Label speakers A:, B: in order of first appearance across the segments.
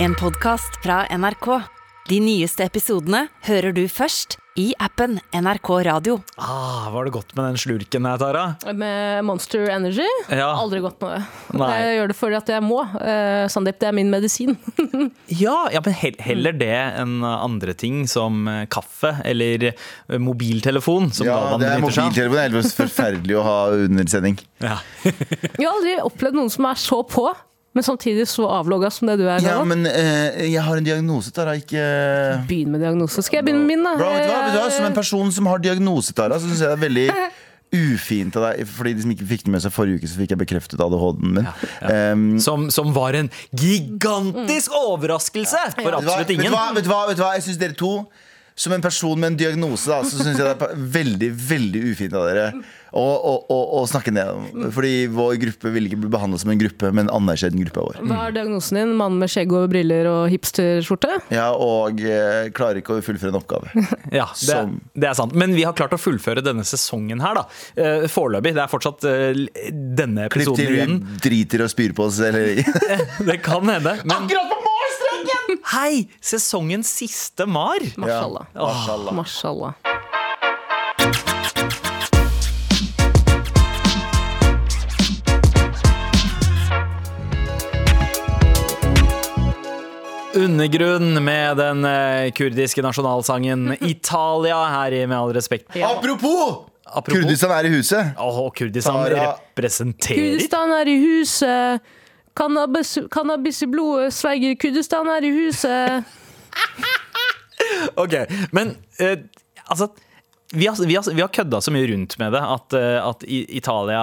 A: En podcast fra NRK. De nyeste episodene hører du først i appen NRK Radio.
B: Ah, var det godt med den slurken her, Tara?
C: Med Monster Energy?
B: Ja.
C: Aldri gått med det.
B: Nei.
C: Jeg gjør det fordi at jeg må. Eh, Sandeep, det er min medisin.
B: Ja, ja men hell- heller det enn andre ting som eh, kaffe eller eh, mobiltelefon. Som
D: Ja,
B: Galvan
D: det er
B: benytter seg av.
D: mobiltelefon. Det er helt forferdelig å ha under sending.
B: Ja.
C: Jeg har aldri opplevd noen som er så på, men samtidig så avlogga som det du er.
D: Ja,
C: Galvan.
D: men eh, jeg har en diagnose, Tara. Ikke
C: Begynn med diagnose. Skal jeg begynne med min, da?
D: Bro, vet du hva? Vet du hva? Som
C: Eh,
D: en person som har diagnose, Tara, så syns jeg det er veldig ufint av deg. Fordi de som ikke fikk det med seg forrige uke, så fikk jeg bekreftet ADHD-en min. Em,
B: Som, som var en gigantisk overraskelse for
D: vet du hva?
B: absolutt
D: Vet du
B: ingen.
D: hva? Vet du hva? Vet du hva? Jeg syns dere to, som en person med en diagnose, da, så syns jeg det er pa- veldig, veldig ufint av dere å, å, å, å snakke ned om. Fordi vår gruppe vil ikke bli behandlet som en gruppe, men anerkjent gruppe er vår.
C: Hva er diagnosen din? Mann med skjegg og briller og hipsterskjorte?
D: Ja, og eh, klarer ikke å fullføre en oppgave.
B: Ja, det,
D: Som-
B: det er sant. Men vi har klart å fullføre denne sesongen her, da. Eh, Foreløpig. Det er fortsatt eh, l- denne
D: Klipp
B: episoden
D: til vi
B: igjen.
D: driter og spyr på oss, eller
B: Det kan hende. Akkurat på målstreken! Hei! Sesongens siste mar.
C: Mashallah.
D: Mashallah.
C: Mashallah.
B: Undergrunn med den eh, kurdiske nasjonalsangen Italia her i Med all respekt.
D: Apropos!
B: Apropos
D: Kurdistan er i huset.
B: Åh, Kurdistan
D: Tara.
B: representerer
C: Kurdistan er i huset. Cannabis, cannabis i blodet, sverger. Kurdistan er i huset.
B: Ok, men eh, altså vi har, vi, har, vi har kødda så mye rundt med det at, eh, at i- Italia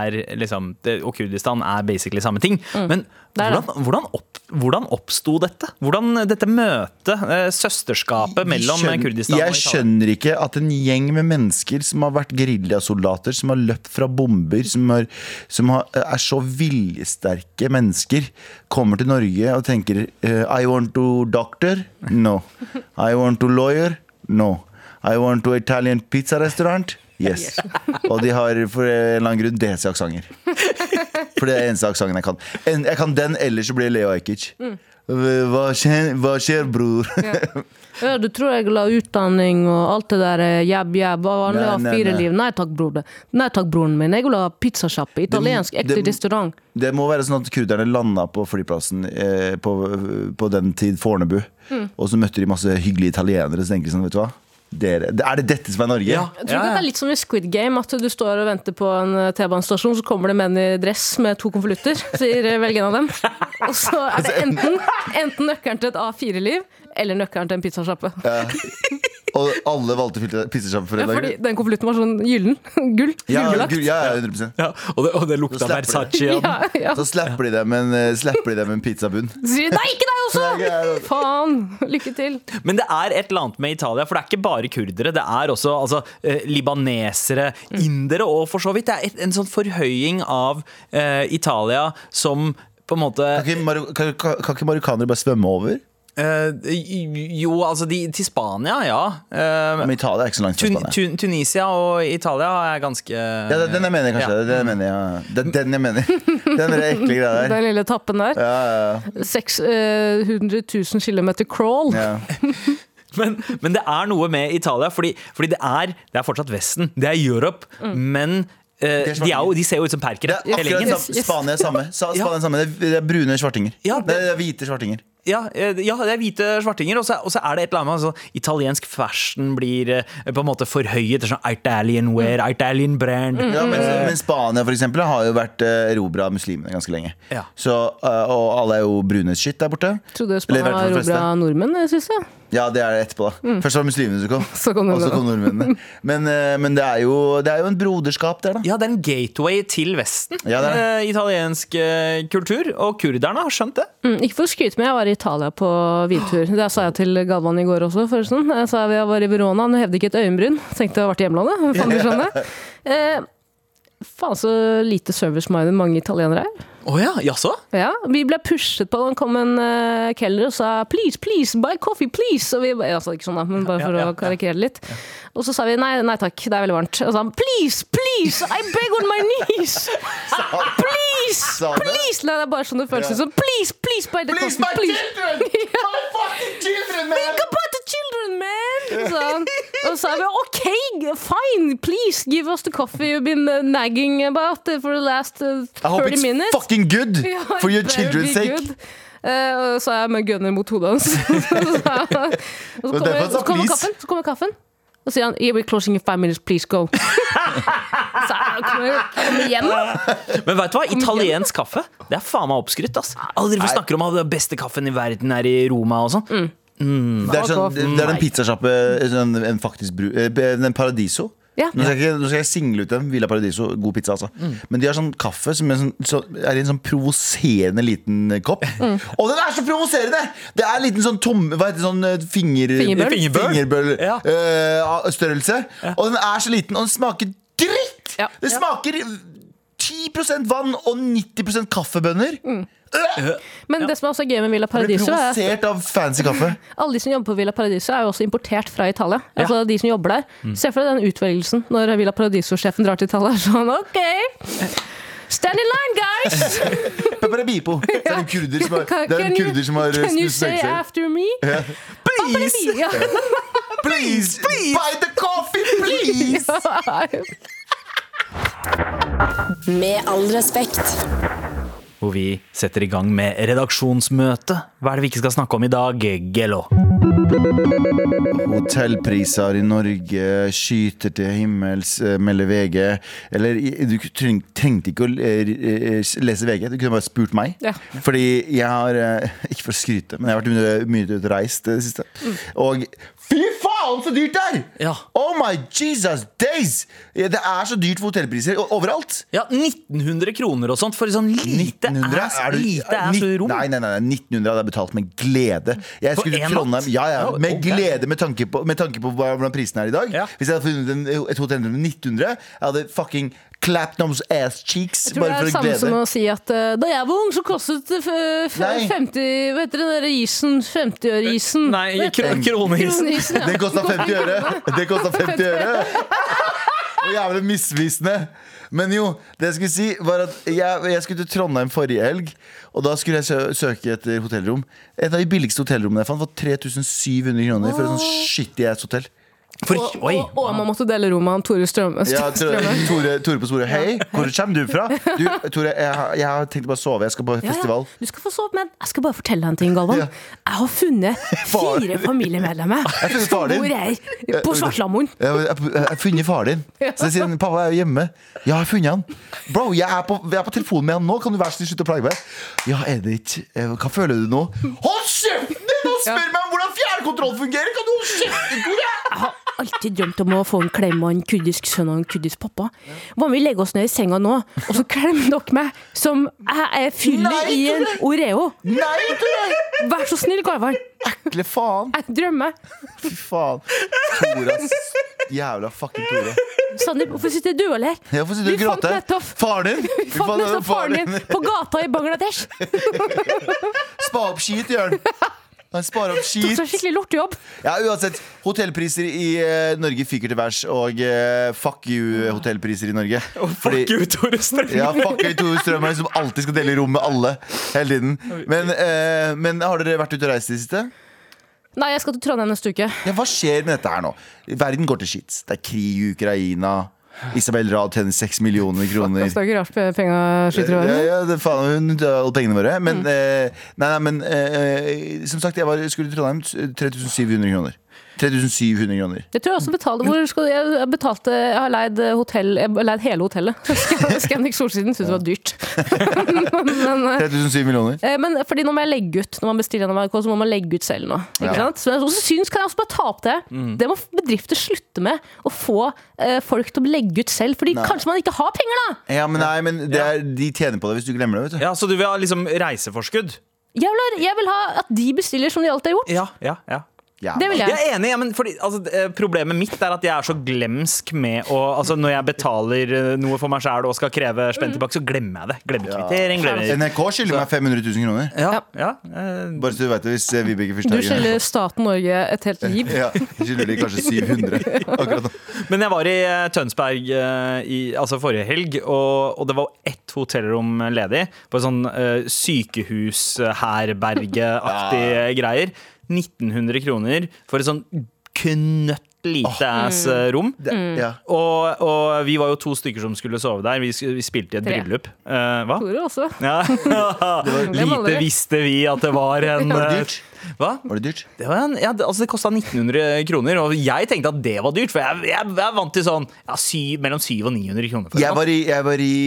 B: er liksom, det, og Kurdistan er basically samme ting. Men
C: Mm. Det er det.
B: hvordan, hvordan, opp, hvordan oppsto dette? Hvordan dette møtet, eh, søsterskapet mellom eh,
D: Skjønn-
B: Kurdistan og
D: Jeg
B: Italia?
D: skjønner ikke at en gjeng med mennesker som har vært geriljasoldater, som har løpt fra bomber, som, har, som har, er så viljesterke mennesker, kommer til Norge og tenker eh, I want to doctor? No. I want to lawyer? No. I want to Italian pizza restaurant? Yes. Og de har for en eller annen grunn DC-aksenter. For det er eneste aksangen jeg kan. En, jeg kan den, ellers så blir det Leo Ajkic. Hva, skjer, hva skjer, bror?
C: Ja, du tror jeg la utdanning og alt det der eh, jabb, jabb. Og han
D: Nei,
C: la
D: nei,
C: fire
D: nei.
C: liv. Nei takk, broder. Nei takk, broren min. Jeg vil ha pizzasjappe. Italiensk,
D: Det-
C: ekte
D: det-
C: restaurant.
D: Det må være sånn at kurderne landa på flyplassen eh, på, på den tid Fornebu.
C: Mm.
D: Og så møtte de masse hyggelige italienere. Så tenker de sånn, vet du hva? Dere, er det dette som er Norge?
B: Ja,
C: Jeg tror
B: ja,
C: ikke det
B: ja.
C: er litt som i Squid Game, at du står og venter på en eh, T-banestasjon, så kommer det menn i dress med to konvolutter, sier eh, velg en av dem. Og så er
D: Altså,
C: det enten, enten nøkkelen til et A4-liv, eller nøkkelen til en pizzasjappe.
D: Og alle valgte filter- pizzasjappe for
C: Ja,
D: en
C: fordi den konvolutten var sånn gyllen. Gull.
D: Ja,
C: Gullbelagt.
D: gud, ja, ja, 100
B: Ja, og, det, og det
D: Så
B: lukta
D: slapper
B: Versace igjen.
C: Ja, ja.
D: Så slapper de dem en, eh, slapper de dem en pizzabunn.
C: Så sier de nei, ikke deg
D: Nei, ikke
C: også!
D: deg også.
C: Faen. Lykke til.
B: Men det er et eller annet med Italia, for det er ikke bare kurdere. Det er også altså, eh, libanesere,
D: Mm.
B: indere og for så vidt. Det er et, en sånn forhøying av eh, Italia som på en måte
D: Kan ikke, Marok- kan, kan, kan ikke marokkanere bare svømme over?
B: eh, Jo, altså de, til Spania, ja. Eh,
D: Men Italia er ikke så langt fra
B: Tun
D: Mm. Spania.
B: Tun Tunisia og Italia er ganske
D: Ja, det er den jeg mener, kanskje. Det er den jeg mener, ja. Det er den jeg mener. Den der ekle greia der.
C: Den lille tappen der.
D: Ja, ja,
C: 600 000 km crawl.
D: ja.
B: Men, men det er noe med Italia, fordi, fordi det, er, det er fortsatt Vesten. Det er Europe, men eh,
D: Mm. Det er svarte
B: de, er jo, de ser jo ut som
D: Det
B: perkere.
D: er
B: hele gjengen.
D: akkurat samme. Spania er samme. Sa- Spania er samme. Det er- det er brune svartinger.
B: Ja,
D: Nei, det er hvite svartinger.
B: Ja, eh, ja, det er hvite svartinger, og så og så er det et eller annet med altså, Italiensk fashion blir eh, på en måte forhøyet. det er Sånn Italian wear,
D: Mm.
B: Italian brand.
D: Ja, men, men Spania for eksempel, har jo vært eh, erobra av muslimene ganske lenge.
B: Ja.
D: Så, eh, og alle er jo brune shit der borte.
C: Trodde
D: Eller i
C: Spania
D: hvert fall de fleste.
C: erobra nordmenn, syns jeg.
D: Ja, det er det etterpå. da Først var det muslimene som kom,
C: Så kom
D: og så
C: nordmennene.
D: kom nordmennene. Men, eh, men det, er jo, det er jo en broderskap der, da.
B: Ja, det er en gateway til Vesten.
D: Ja, det er
B: eh, italiensk eh, kultur. Og kurderne har skjønt det.
C: Mm, ikke for å skryte, men jeg var i Italia på vintur. Det sa jeg til Galvan i går også, forresten. Jeg sa jeg var i Verona, han hevde ikke et øyenbryn. Tenkte jeg hadde vært i hjemlandet. Faen, du skjønner. Eh, Faen så lite service-minded mange italienere er.
B: Å ja, jaså?
C: Ja, Vi ble pushet på. Det kom en uh, kelner og sa 'please, please, buy coffee, please'. Og vi ba- altså, ikke sånn da, men bare
B: Ja,
C: for
B: ja, ja.
C: å karikere det litt. Og så sa vi nei, nei takk, det er veldig varmt. Og så sa han 'please, please, I beg on my knees'. Please!
D: Sa han det?
C: Please! Nei, det er bare sånn det føles
D: Ja.
C: som. Please, please, buy the
D: Please,
C: coffee,
D: my
C: please.
D: children! My fucking children, man!
C: Think about the children, man! Sa han. Og så sa vi OK, fine, please, give us the coffee you've been uh, nagging about uh, for the last uh,
D: I hope
C: 30
D: it's
C: minutes.
D: fucking good
C: Ja,
D: for your
C: it better
D: children's
C: be
D: sake.
C: good. Eh, og så er jeg med gunner mot hodet hans. Så sa han- og så
D: Men derfor
C: kommer,
D: sa
C: så kommer
D: please.
C: kaffen. Så kommer kaffen. Og så sier han yeah, we're closing in five minutes, please go. så jeg kommer, kommer hjem.
B: Men vet du hva? Italiensk kaffe det er faen meg oppskrytt. ass Alle driver og snakker om at den beste kaffen i verden er i Roma. og sånn
D: Mm. Det er, sånn,
C: off.
D: det er en pizzasjappe sånn, En faktisk bru eh, En Paradiso
C: Ja. Mm.
D: nå, skal jeg, ikke- nå skal jeg single ut dem Villa Paradiso, god pizza altså Men de har sånn kaffe som er, sånn, så, er i en sånn provoserende liten eh, kopp
C: Mm.
D: Og den er så provoserende Det er en liten sånn tom Hva heter det sånn eh, finger,
C: Fingerbøl.
B: Fingerbøl.
D: fingerbøl,
B: Ja.
D: eh, av størrelse Og den er så liten Og den smaker dritt
C: Ja.
D: Det
C: Ja.
D: smaker 10% vann og 90% kaffebønner
C: Men det som er også gøy med Villa
D: Jeg Blir
C: Mm. Paradiso, er at
D: provosert av fancy kaffe
C: alle de som jobber på Villa Paradiso, er jo også importert fra Italia. Altså de som jobber der. Se for deg den utvelgelsen når Villa Paradiso-sjefen drar til Italia. Sånn, OK! Stand in line, guys!
D: Pepper Bipo. Det er en kurder som har, det er
C: Can
D: en
C: you-
D: kurder som har
C: Can you
D: snust
C: say
D: seg selv.
C: after me?
D: Please,
C: Ja.
D: please, buy the coffee, please!
E: Med all respekt.
B: Hvor vi setter i gang med redaksjonsmøte. Hva er det vi ikke skal snakke om i dag, Gello?
D: Hotellpriser i Norge skyter til himmels, eh, melder VG. Eller i- du treng, trengte ikke å eh, eh, lese VG, du kunne bare spurt meg.
C: Ja.
D: Fordi jeg har, eh, ikke for å skryte, men jeg har vært mye- mye ute og reist eh, det siste.
C: Mm.
D: Og fy faen, så dyrt det er!
B: Ja.
D: Oh my Jesus days! Ja, Det er så dyrt for hotellpriser o- overalt.
B: Ja, 1900 kroner og sånt for sånn lite
D: 1900?
B: ass,
D: Er du-
B: lite ass
D: nitt-
B: rom.
D: Nei, nei, nei, nei, 1900 hadde jeg betalt med glede. Jeg
B: For
D: skulle til
B: en
D: Trondheim
B: natt?
D: ja,
B: Ja,
D: ja, med
B: ok.
D: glede med tanke på, med tanke på hva- hvordan prisen er i dag.
B: Ja.
D: Hvis jeg hadde funnet en, et hotell med 1900, jeg hadde fucking clapped noms ass cheeks
C: Jeg tror det
D: bare
C: er
D: for
C: det
D: å
C: samme som
D: glede.
C: å si at eh, da jeg var ung, så kostet det f- f-
D: Nei.
C: 50 Hva heter den derre isen? 50-øre-isen?
B: Nei, kro kronehis.
C: Kroneisen,
D: Den
C: ja.
D: kosta 50 øre! Den kosta 50 øre! Det er Jævlig misvisende. Men jo, det jeg skulle si, var at jeg, jeg skulle til Trondheim forrige helg. Og da skulle jeg sø søke etter hotellrom. Et av de billigste hotellrommene jeg fant, var 3700 kroner for et sånt shitty ass hotell.
B: For,
C: Og,
B: oi,
C: og, og man måtte dele rom med han Tore Strømme.
D: Ja, Tore,
C: Strømme.
D: Tore, Tore på sporet. Hei, hvor kommer du fra? Du, Tore, jeg, har- jeg har tenkt bare å sove. Jeg skal på
C: Ja, ja.
D: festival.
C: Du skal få sove, men jeg skal bare fortelle deg en ting, Galvan.
D: Ja.
C: Jeg har funnet
D: Far.
C: fire familiemedlemmer
D: har funnet
C: som
D: faren din.
C: bor her på Svartlamoen.
D: Jeg har- jeg har funnet faren din. Så jeg sier pappa er jo hjemme. Ja, jeg har funnet han. Bro, jeg er, på, jeg er på telefonen med han nå. Kan du være så snill slutte å plage meg? Ja, er det ikke eh, Hva føler du nå? Hold kjeften din og spør meg om hvordan fjernkontroll fungerer! Kan du holde kjeften, Tore?
C: Jeg har alltid drømt om å få en klem av en kurdisk sønn og en kurdisk pappa. Hva om vi legger oss ned i senga nå, og så klemmer dere meg som jeg er
D: Nei,
C: fyller i en Oreo?
D: Nei, Tore!
C: Vær så snill, Galvan.
D: Ekle faen.
C: Jeg drømmer.
D: Fy faen. Tore, ass. Jævla fucking Tore.
C: Sandeep, hvorfor sitter du og ler?
D: Ja, Hvorfor sitter du
C: Vi
D: og
C: fant
D: gråter?
C: nettopp-
D: Faren din?
C: Vi fant nettopp faren din på gata i Bangladesh.
D: Spa opp skit, Jørn. Han sparer opp
C: Tok
D: skit.
C: seg skikkelig lortejobb.
D: Ja, uansett, hotellpriser i eh, Norge fyker til værs, og eh, fuck you, hotellpriser i Norge. Fordi-
B: Fuck you, Tore Strøm.
D: ja, fuck you, Tore Strømøy, som alltid skal dele rom med alle hele tiden. Men, eh, men har dere vært ute og reist i det siste?
C: Nei, jeg skal til Trondheim neste uke.
D: Ja, hva skjer med dette her nå? Verden går til skits. Det er krig i Ukraina. Isabel Rad tjener seks millioner kroner.
C: Det er ikke rart penga skyter i
D: Ja,
C: været.
D: ja, det er faen hun tar alle pengene våre.
B: Mm.
D: Men, eh, nei, nei, men eh, som sagt, jeg var, skulle til Trondheim. 3700 kroner. 3700 kroner.
C: Jeg tror jeg også betalte Hvor skal du Jeg betalte Jeg har leid hotell Jeg har leid hele hotellet. Scan- Scandic Solsiden syntes det var dyrt.
D: 3700 millioner.
C: Eh, Men fordi nå må jeg legge ut Når man bestiller en NRK, så må man legge ut selv nå. Ikke
D: Ja.
C: sant? Så jeg også syns kan jeg også bare ta opp det. Det må bedrifter slutte med. Å få eh, folk til å legge ut selv. Fordi kanskje man ikke har penger, da!
D: Ja, men nei, men det er, de tjener på det hvis du glemmer det, vet du.
B: Ja, Så du vil ha liksom reiseforskudd?
C: Jeg vil, ha, jeg vil ha at de bestiller som de alltid har gjort.
B: Ja, ja, ja
D: Ja,
C: Det vil
B: Jeg
C: jeg.
B: er enig, ja, men fordi, altså, eh, problemet mitt er at jeg er så glemsk med å altså, Når jeg betaler eh, noe for meg sjæl og skal kreve spenn tilbake, så glemmer jeg det. Glemmer kvittering. Glemmer
D: NRK skylder meg 500 000 kroner.
B: ja, ja, eh,
D: Bare så du vet det, hvis eh, Vibeke
C: Du
D: Fyrstad
C: skylder staten Norge et helt liv.
D: Ja, jeg skylder de kanskje 700 akkurat nå.
B: Men jeg var i eh, Tønsberg eh, i, altså forrige helg, og, og det var ett hotellrom ledig på en sånn eh, sykehushærbergeaktig eh, greier. 1900 kroner for et sånn knøtt lite ass eh, rom.
D: Ja.
B: Og, og vi var jo to stykker som skulle sove der. Vi, sk- vi spilte i et
C: Tre.
B: bryllup. Eh, hva?
C: Tore også.
B: Ja. Lite
C: aldri.
B: visste vi at det var en
D: Var det
B: eh,
D: dyrt?
B: Hva?
D: Var det dyrt?
B: Det, var en, ja, det, altså det kosta 1900 kroner, og jeg tenkte at det var dyrt. For jeg, jeg, jeg er vant til sånn ja, sy, mellom 700 og 900 kroner. For
D: Jeg
B: en natt.
D: var, i, jeg var i,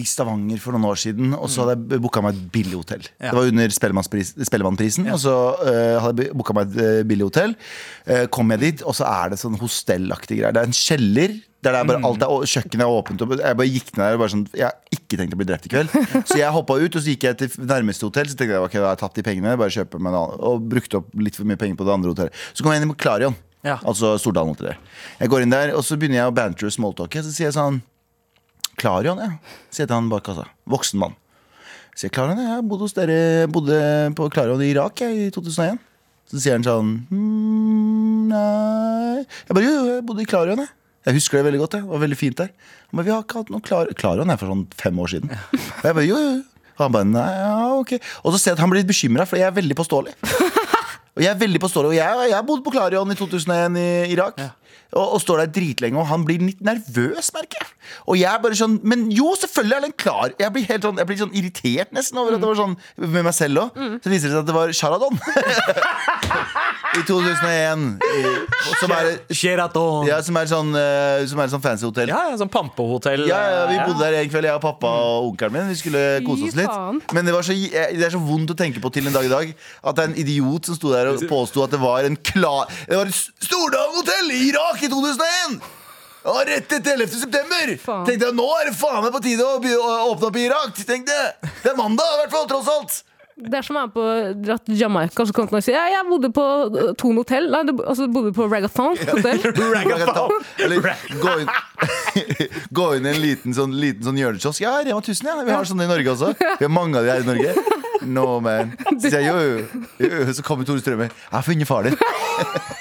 D: i Stavanger for noen år siden, og så hadde jeg booka meg et billig hotell.
B: Ja.
D: Det var under Spellemannspris- Spellemannprisen, og så eh, hadde jeg booka meg et eh, billig hotell. Eh, kom jeg dit, og så er det sånn hostellaktig greier. Det er en kjeller. Der det er bare alt er, å- kjøkkenet er åpent. Og jeg bare gikk ned der og bare sånn Jeg har ikke tenkt å bli drept i kveld. Så jeg hoppa ut, og så gikk jeg til nærmeste hotell. Så tenkte jeg ok, da har jeg tatt de pengene, bare kjøper meg en annen. Og brukte opp litt for mye penger på det andre hotellet. Så kom jeg inn i Clarion,
B: Ja.
D: altså Stordalen hotell. Jeg går inn der, og så begynner jeg å bantere og smalltalke. Så sier jeg sånn Klarion, ja. Sier jeg til han bak kassa. Voksen mann. Sier Klarion, ja, jeg bodde hos dere Bodde på Klarion i Irak jeg, i 2001. Så sier han sånn hmm, Nei Jeg bare jo, jo, jeg bodde i Klarion, jeg. Jeg husker det veldig godt. jeg. Det var veldig fint der. Han bare, vi har ikke hatt noe Klar Klarion er for sånn fem år siden. Og jeg bare jo, jo. jo. Og han bare nei, ja, ok. Og så ser jeg at han blir litt bekymra, for jeg er veldig påståelig. Og jeg er veldig påståelig, og jeg, jeg bodde på Klarion i 2001 i Irak. Og, og står der dritlenge, og han blir litt nervøs, merker jeg. Og jeg er bare sånn Men jo, selvfølgelig er den klar. Jeg blir helt sånn, jeg blir sånn irritert nesten over at det var sånn med meg selv òg. Så viser det seg at det var Sharadon. I 2001. eh, Som er,
B: Sheraton.
D: ja, som er sånn, eh, som er sånn fancy hotell.
B: Ja, ja, sånn pampehotell. eh,
D: Ja, ja, vi
B: Ja.
D: bodde der en kveld, jeg og pappa og onkelen min. Vi skulle kose oss
C: Fy faen.
D: litt. Men det, var så, det er så vondt å tenke på til en dag i dag at det er en idiot som sto der og påsto at det var en klar Det var et Stordalen hotell i Irak i 2001! Ja, rett etter 11. september!
C: Faen.
D: Tenkte jeg, Nå er det faen meg på tide å, by- å åpne opp i Irak! Tenk det! Det er mandag, i hvert fall, tross alt!
C: Det er som å være på dratt til Jamaica så kan man si ja, jeg bodde på eh, Thon hotell. Nei, du altså, du bodde på Ragathon hotell.
D: Ragathon. Eller gå inn, gå inn i en liten sånn, liten sånn hjørnekiosk. Ja, Rema 1000, ja. Vi har sånne i Norge også. Vi har mange av de her i Norge. No, man. Så sier jeg jo, jo, jo, jo. Så kommer Tore Strømmer. Jeg har funnet far din.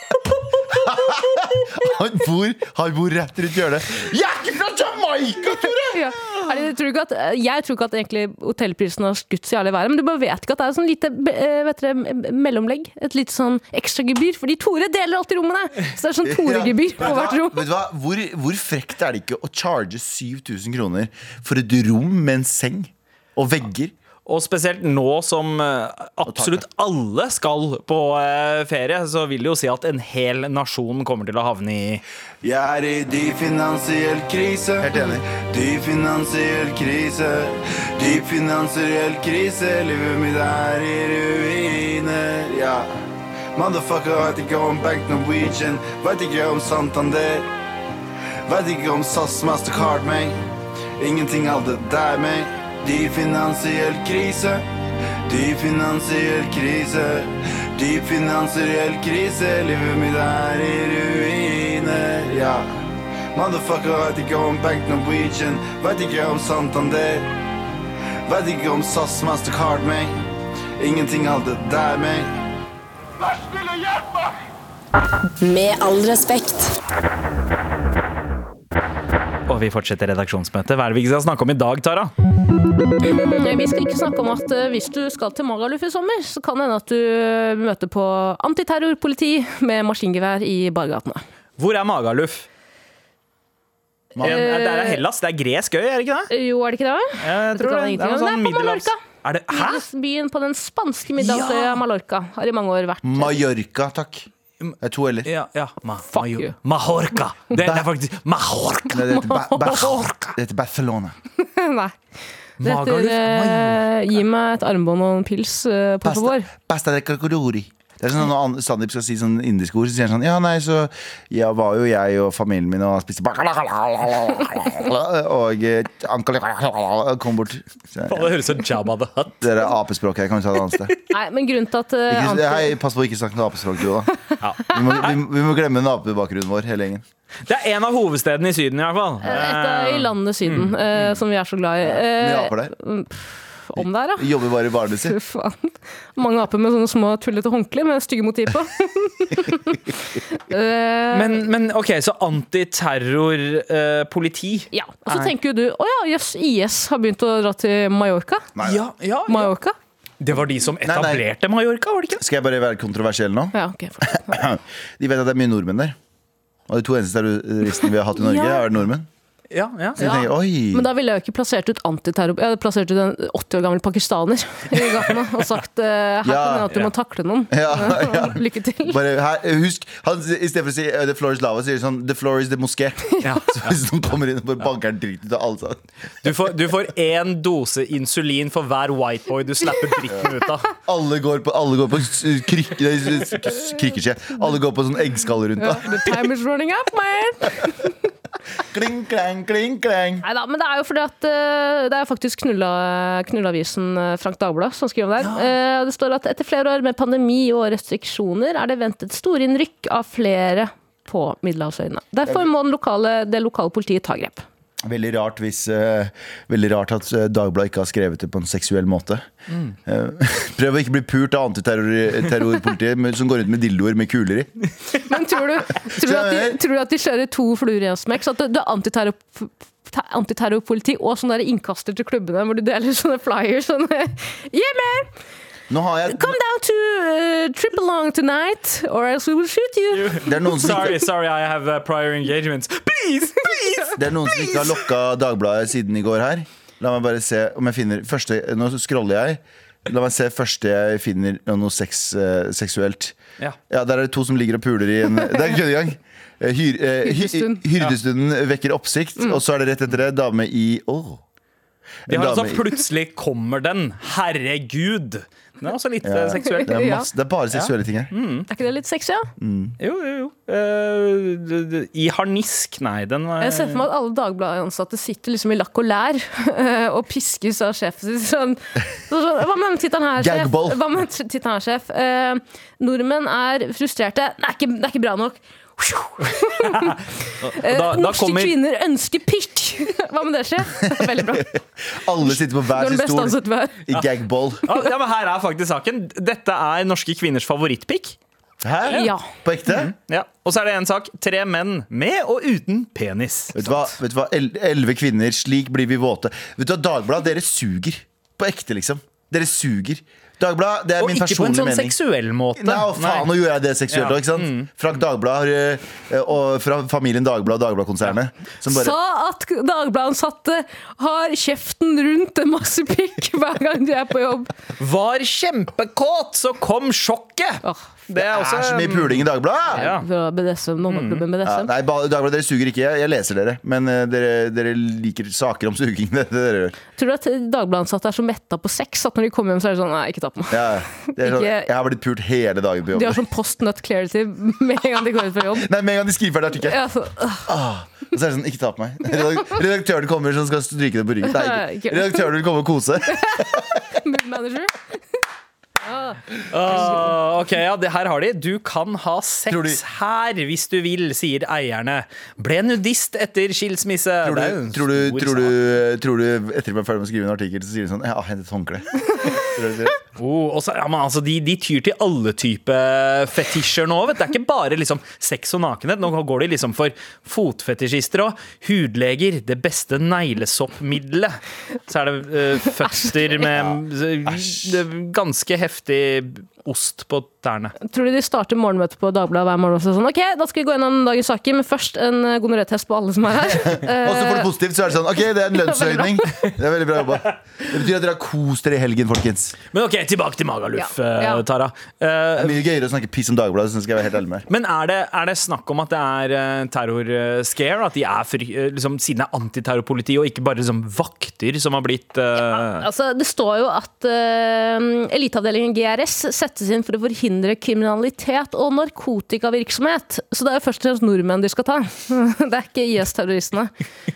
D: Han bor, han bor rett rundt hjørnet. Jeg er ikke fra Jamaica, Tore!
C: Ja. Er det, tror du ikke at, eh, jeg tror ikke at egentlig hotellprisen har skutt så jævlig i været, men du bare vet ikke at det er et sånn lite be- eh, vet dere, m- mellomlegg. Et lite sånn ekstragebyr. Fordi Tore deler alltid rommene! Så det er sånn Tore-gebyr
D: Ja.
C: på hvert rom.
D: Vet du hva? Hvor, hvor frekt er det ikke å charge 7000 kroner for et rom med en seng og vegger?
B: Og spesielt nå som eh, absolutt alle skal på eh, ferie, så vil det jo si at en hel nasjon kommer til å havne i
F: Jeg er i dyp finansiell krise.
D: Helt enig.
F: Dyp finansiell krise. Dyp finansiell krise. Livet mitt er i ruiner. Ja. Motherfucker veit ikke om Bank Norwegian. Veit ikke om Santander. Veit ikke om SAS Mastercard, meg. Ingenting av det der, meg. Dyp finansiell krise. Dyp finansiell krise. Dyp finansiell krise. Livet mitt er i ruiner, ja. Motherfucker veit ikke om Bank Norwegian. Veit ikke om Santander. Veit ikke om SAS Mastercard, meg. Ingenting av det der, meg.
E: Med all respekt.
B: Og vi fortsetter redaksjonsmøtet. Hva er det vi ikke skal snakke om i dag, Tara?
C: Nei, Vi skal ikke snakke om at eh, hvis du skal til Magaluf i sommer, så kan det hende at du eh, møter på antiterrorpoliti med maskingevær i bargatene.
B: Hvor er Magaluf?
D: Ma-
B: Eh, det er Hellas. Det er gresk øy, er det ikke det?
C: Eh, Jo, er det ikke
B: Jeg
C: det?
B: tror
C: kan
B: det,
C: jeg
B: det er noe
C: ingenting om.
B: sånn
C: Det er på
B: middelhavs...
C: Mallorca.
B: Er det, hæ?
C: Byen på den spanske middagsøya
B: Ja!
C: Mallorca har i mange år vært
D: Mallorca, takk. Det er to l-er.
B: Ja, ja. Ma
C: Fuck you.
B: Mahorca. Det, det er faktisk Mahorca.
D: Nei, det heter Ba- Ba- Det heter Barcelona.
C: Nei. Det heter
B: Magaluf,
C: eh, Gi meg et armbånd og en pils, eh, por
D: Pasta,
C: favor.
D: pasta de cocoduri. Det er sånn Når An- Sandeep skal si sånn indiske ord, så sier han sånn Ja, nei, så ja, var jo jeg og familien min og spiste Og eh, onkel kom bort. Så, ja,
B: Det høres ut som Jabba the Hutt.
D: det er apespråket her. Kan vi ta det et annet sted?
C: Nei, men grunnen til at eh,
D: Ikke,
C: anti-
D: hei, pass på å ikke snakke noe apespråk, du òg. Vi, må- vi, må- vi må glemme nabobakgrunnen vår, hele gjengen.
B: Det er en av hovedstedene i Syden, i hvert fall.
C: Eh, Et av i landet Syden,
D: Mm.
C: eh, som vi er så glad i.
D: Mye
C: Eh,
D: aper der.
C: om der, ja.
D: Vi Jobber bare i barnet
C: Fy
D: sitt.
C: faen. Mange aper med sånne små tullete håndklær med stygge motiv på. Eh,
B: Men, men ok, så eh, antiterror-politi.
C: ja. Og så tenker jo du å ja, jøss, IS har begynt å dra til Mallorca.
D: Nei,
B: ja, ja, ja.
C: Mallorca?
B: Det var de som
D: nei.
B: etablerte Mallorca, var det ikke? det?
D: Skal jeg bare være kontroversiell nå?
C: Ja, ok. fortsett.
D: De vet at det er mye nordmenn der. Og de to eneste terroristene vi har hatt i Norge,
C: Ja.
D: er nordmenn.
B: Ja, ja.
D: Så jeg tenker, oi
C: Men da ville jeg jo ikke plassert ut antiterror... Jeg hadde plassert ut en 80 år gammel pakistaner i gatene og sagt eh, her kan
D: Ja,
C: det hende at du må takle noen.
D: Ja, ja.
C: Lykke til.
D: bare, her, husk, han, I stedet for å si eh, 'the floor is lava', sier de sånn 'the floor is the moské'. Så hvis noen kommer inn og bare banker den dritt ut av alle sammen.
B: Du får- Du får én dose insulin for hver whiteboy du slapper dritten ut av.
D: Alle går på, alle går på s- krykke, nei, s- s- krykkeskje. Alle går på sånn eggskall rundt. Da.
C: The time is running up, man!
D: Kling, klang, kling, klang.
C: Neida, men det er jo fordi at eh, det er faktisk knulla- knullavisen eh, Frank Dagblad som skriver om det. her. Eh, og det står at etter flere år med pandemi og restriksjoner er det ventet storinnrykk av flere på Middelhavsøyene. Derfor må den lokale, det lokale politiet ta grep.
D: Veldig rart, hvis, eh, veldig rart at eh, Dagbladet ikke har skrevet det på en seksuell måte.
C: Mm.
D: Eh, prøv å ikke bli pult av antiterrorpolitiet terrorpolitiet med- som går rundt med dildoer med kuler i.
C: Men tror du, tror du, at, de, tror du at de kjører to fluer i en smekk? Så at det, det er antiterror- te- antiterrorpoliti og sånne der innkaster til klubbene hvor du deler sånne flyers. Sånne, yeah, man!
D: Nå har jeg
C: Come down to uh, Triple Long tonight, or else we will shoot you.
D: Det er noen som ikke
B: Sorry, sorry, I have uh, prior engagements. Please, please!
D: Det er noen som ikke har lokka Dagbladet siden i går her. La meg bare se om jeg finner første, Nå scroller jeg. La meg se første jeg finner av noe sex, eh, seksuelt.
B: Ja.
D: Der er det to som ligger og puler i en Det er en køddegang. Eh, Hyr, eh, hy,
C: Hyrdestund. Mm.
D: hyrdestunden vekker oppsikt, og så er det rett etter det dame i Åh.
B: De
D: En
B: har
D: dame
B: altså
D: i-
B: plutselig kommer den. Herregud. Den er også litt eh, seksuelt.
D: det, er
C: Ja.
D: masse, det er bare seksuelle ting her.
C: Er ikke det litt sexy? Ja?
B: Jo, jo, jo. Eh, d- d- I harnisk, nei. Den eh, var
C: Jeg ser for meg at alle Dagbladet-ansatte sitter liksom i lakk og lær og piskes av sjefen sin. Sånn, Så sånn, hva med den tittelen her, sjef?
D: Gagball.
C: Hva med den tittelen her, sjef? Eh, nordmenn er frustrerte. Det er ikke, det er ikke bra nok. Eh,
B: da, da
C: Norske
B: kommer
C: kvinner ønsker pikk! Hva med det, sjef? Veldig bra. Du
D: Alle sitter på hver
C: er den
D: sin
C: beste altså. ansatte
D: stol
C: vi har.
D: i gagball.
B: Ah, ja, men Her er faktisk saken. Dette er norske kvinners favorittpikk.
D: Hæ?
C: Ja. Mm.
D: På ekte?
B: Ja. Og så er det en sak. Tre menn med og uten penis.
D: Vet du hva? Vet du hva? El elleve kvinner, slik blir vi våte. Vet du hva, Dagbladet, dere suger. På ekte, liksom. Dere suger. Dagbladet, det er
B: Og
D: min
B: ikke på en
D: personlige
B: sånn
D: mening.
B: seksuell måte.
D: Nei, å faen, nå gjorde jeg det
B: Ja.
D: seksuelt
B: Mm.
D: òg, ikke sant? Frank Dagblad har, eh, og fra familien Dagblad og Dagbladkonsernet. Som bare
C: Sa at Dagbladet-ansatte har kjeften rundt en masse pikk hver gang de er på jobb.
B: Var kjempekåt, så kom sjokket!
C: Åh,
B: Det er
D: Det
B: også
D: er så mye puling i Dagbladet!
B: Ja.
C: Fra BDSM, nonneklubben
D: Ja,
C: BDSM.
D: nei, ba- Dagbladet, dere suger ikke. Jeg, jeg leser dere. Men eh, dere, dere liker saker om suging. Det, er det dere gjør.
C: Tror du at Dagbladet-ansatte er så metta på sex at når de kommer hjem, så er det sånn Nei, ikke ta på meg.
D: Ja, det er sånn,
C: Ikke-
D: jeg har blitt pult hele dagen på jobb.
C: De har sånn post nut clarity med en gang de går ut fra jobb.
D: Nei, med en gang de skriver ferdig artikkel.
C: Ja, så, øh,
D: Og så er det sånn, ikke ta på meg. Redak- Redaktøren kommer som skal stryke det på ryggen. Nei, ikke. Redaktøren vil komme og kose.
C: mood manager.
B: Åh, Ah, ok, ja, det her har de. Du kan ha sex
D: Tror de-
B: her hvis du vil, sier eierne. Ble nudist etter skilsmisse.
D: Tror
B: Det er jo
D: du,
B: en
D: tror du,
B: stor
D: tror du,
B: sak.
D: tror du etter at man er ferdig med å skrive en artikkel, så sier de sånn Jeg har hentet håndkle. Tror du det?
B: Oh, og så- ja, men altså, de, de tyr til alle typer fetisjer nå. Vet. du. Det er ikke bare liksom, sex og nakenhet. Nå går de liksom for fotfetisjister òg. Hudleger, det beste neglesoppmiddelet. Så er det eh, føtter med eh, ganske heftig ost på tærne.
C: Tror du de starter morgenmøtet på Dagbladet hver morgen og så er det sånn Ok, da skal vi gå gjennom dagens saker, men først en eh, gonoré-test på alle som er her. Eh,
D: Og så for det positivt, så er det sånn OK, det er en lønnsøkning. Det er veldig bra jobba. Det betyr at dere har kost dere i helgen, folkens.
B: Men ok, tilbake til Magaluf,
C: Ja, ja.
B: eh, Tara. Eh,
D: Det er mye gøyere å snakke piss om Dagbladet, så skal jeg være helt ærlig med deg.
B: Men er det, er det snakk om at det er eh, terror-scare? At de er fri, eh, liksom, siden det er antiterrorpoliti og ikke bare liksom, vakter som har blitt eh,
C: Altså, det står jo at eh, eliteavdelingen GRS setter settes inn for å forhindre kriminalitet og narkotikavirksomhet. Så det er jo først og fremst nordmenn de skal ta. Det er ikke IS-terroristene.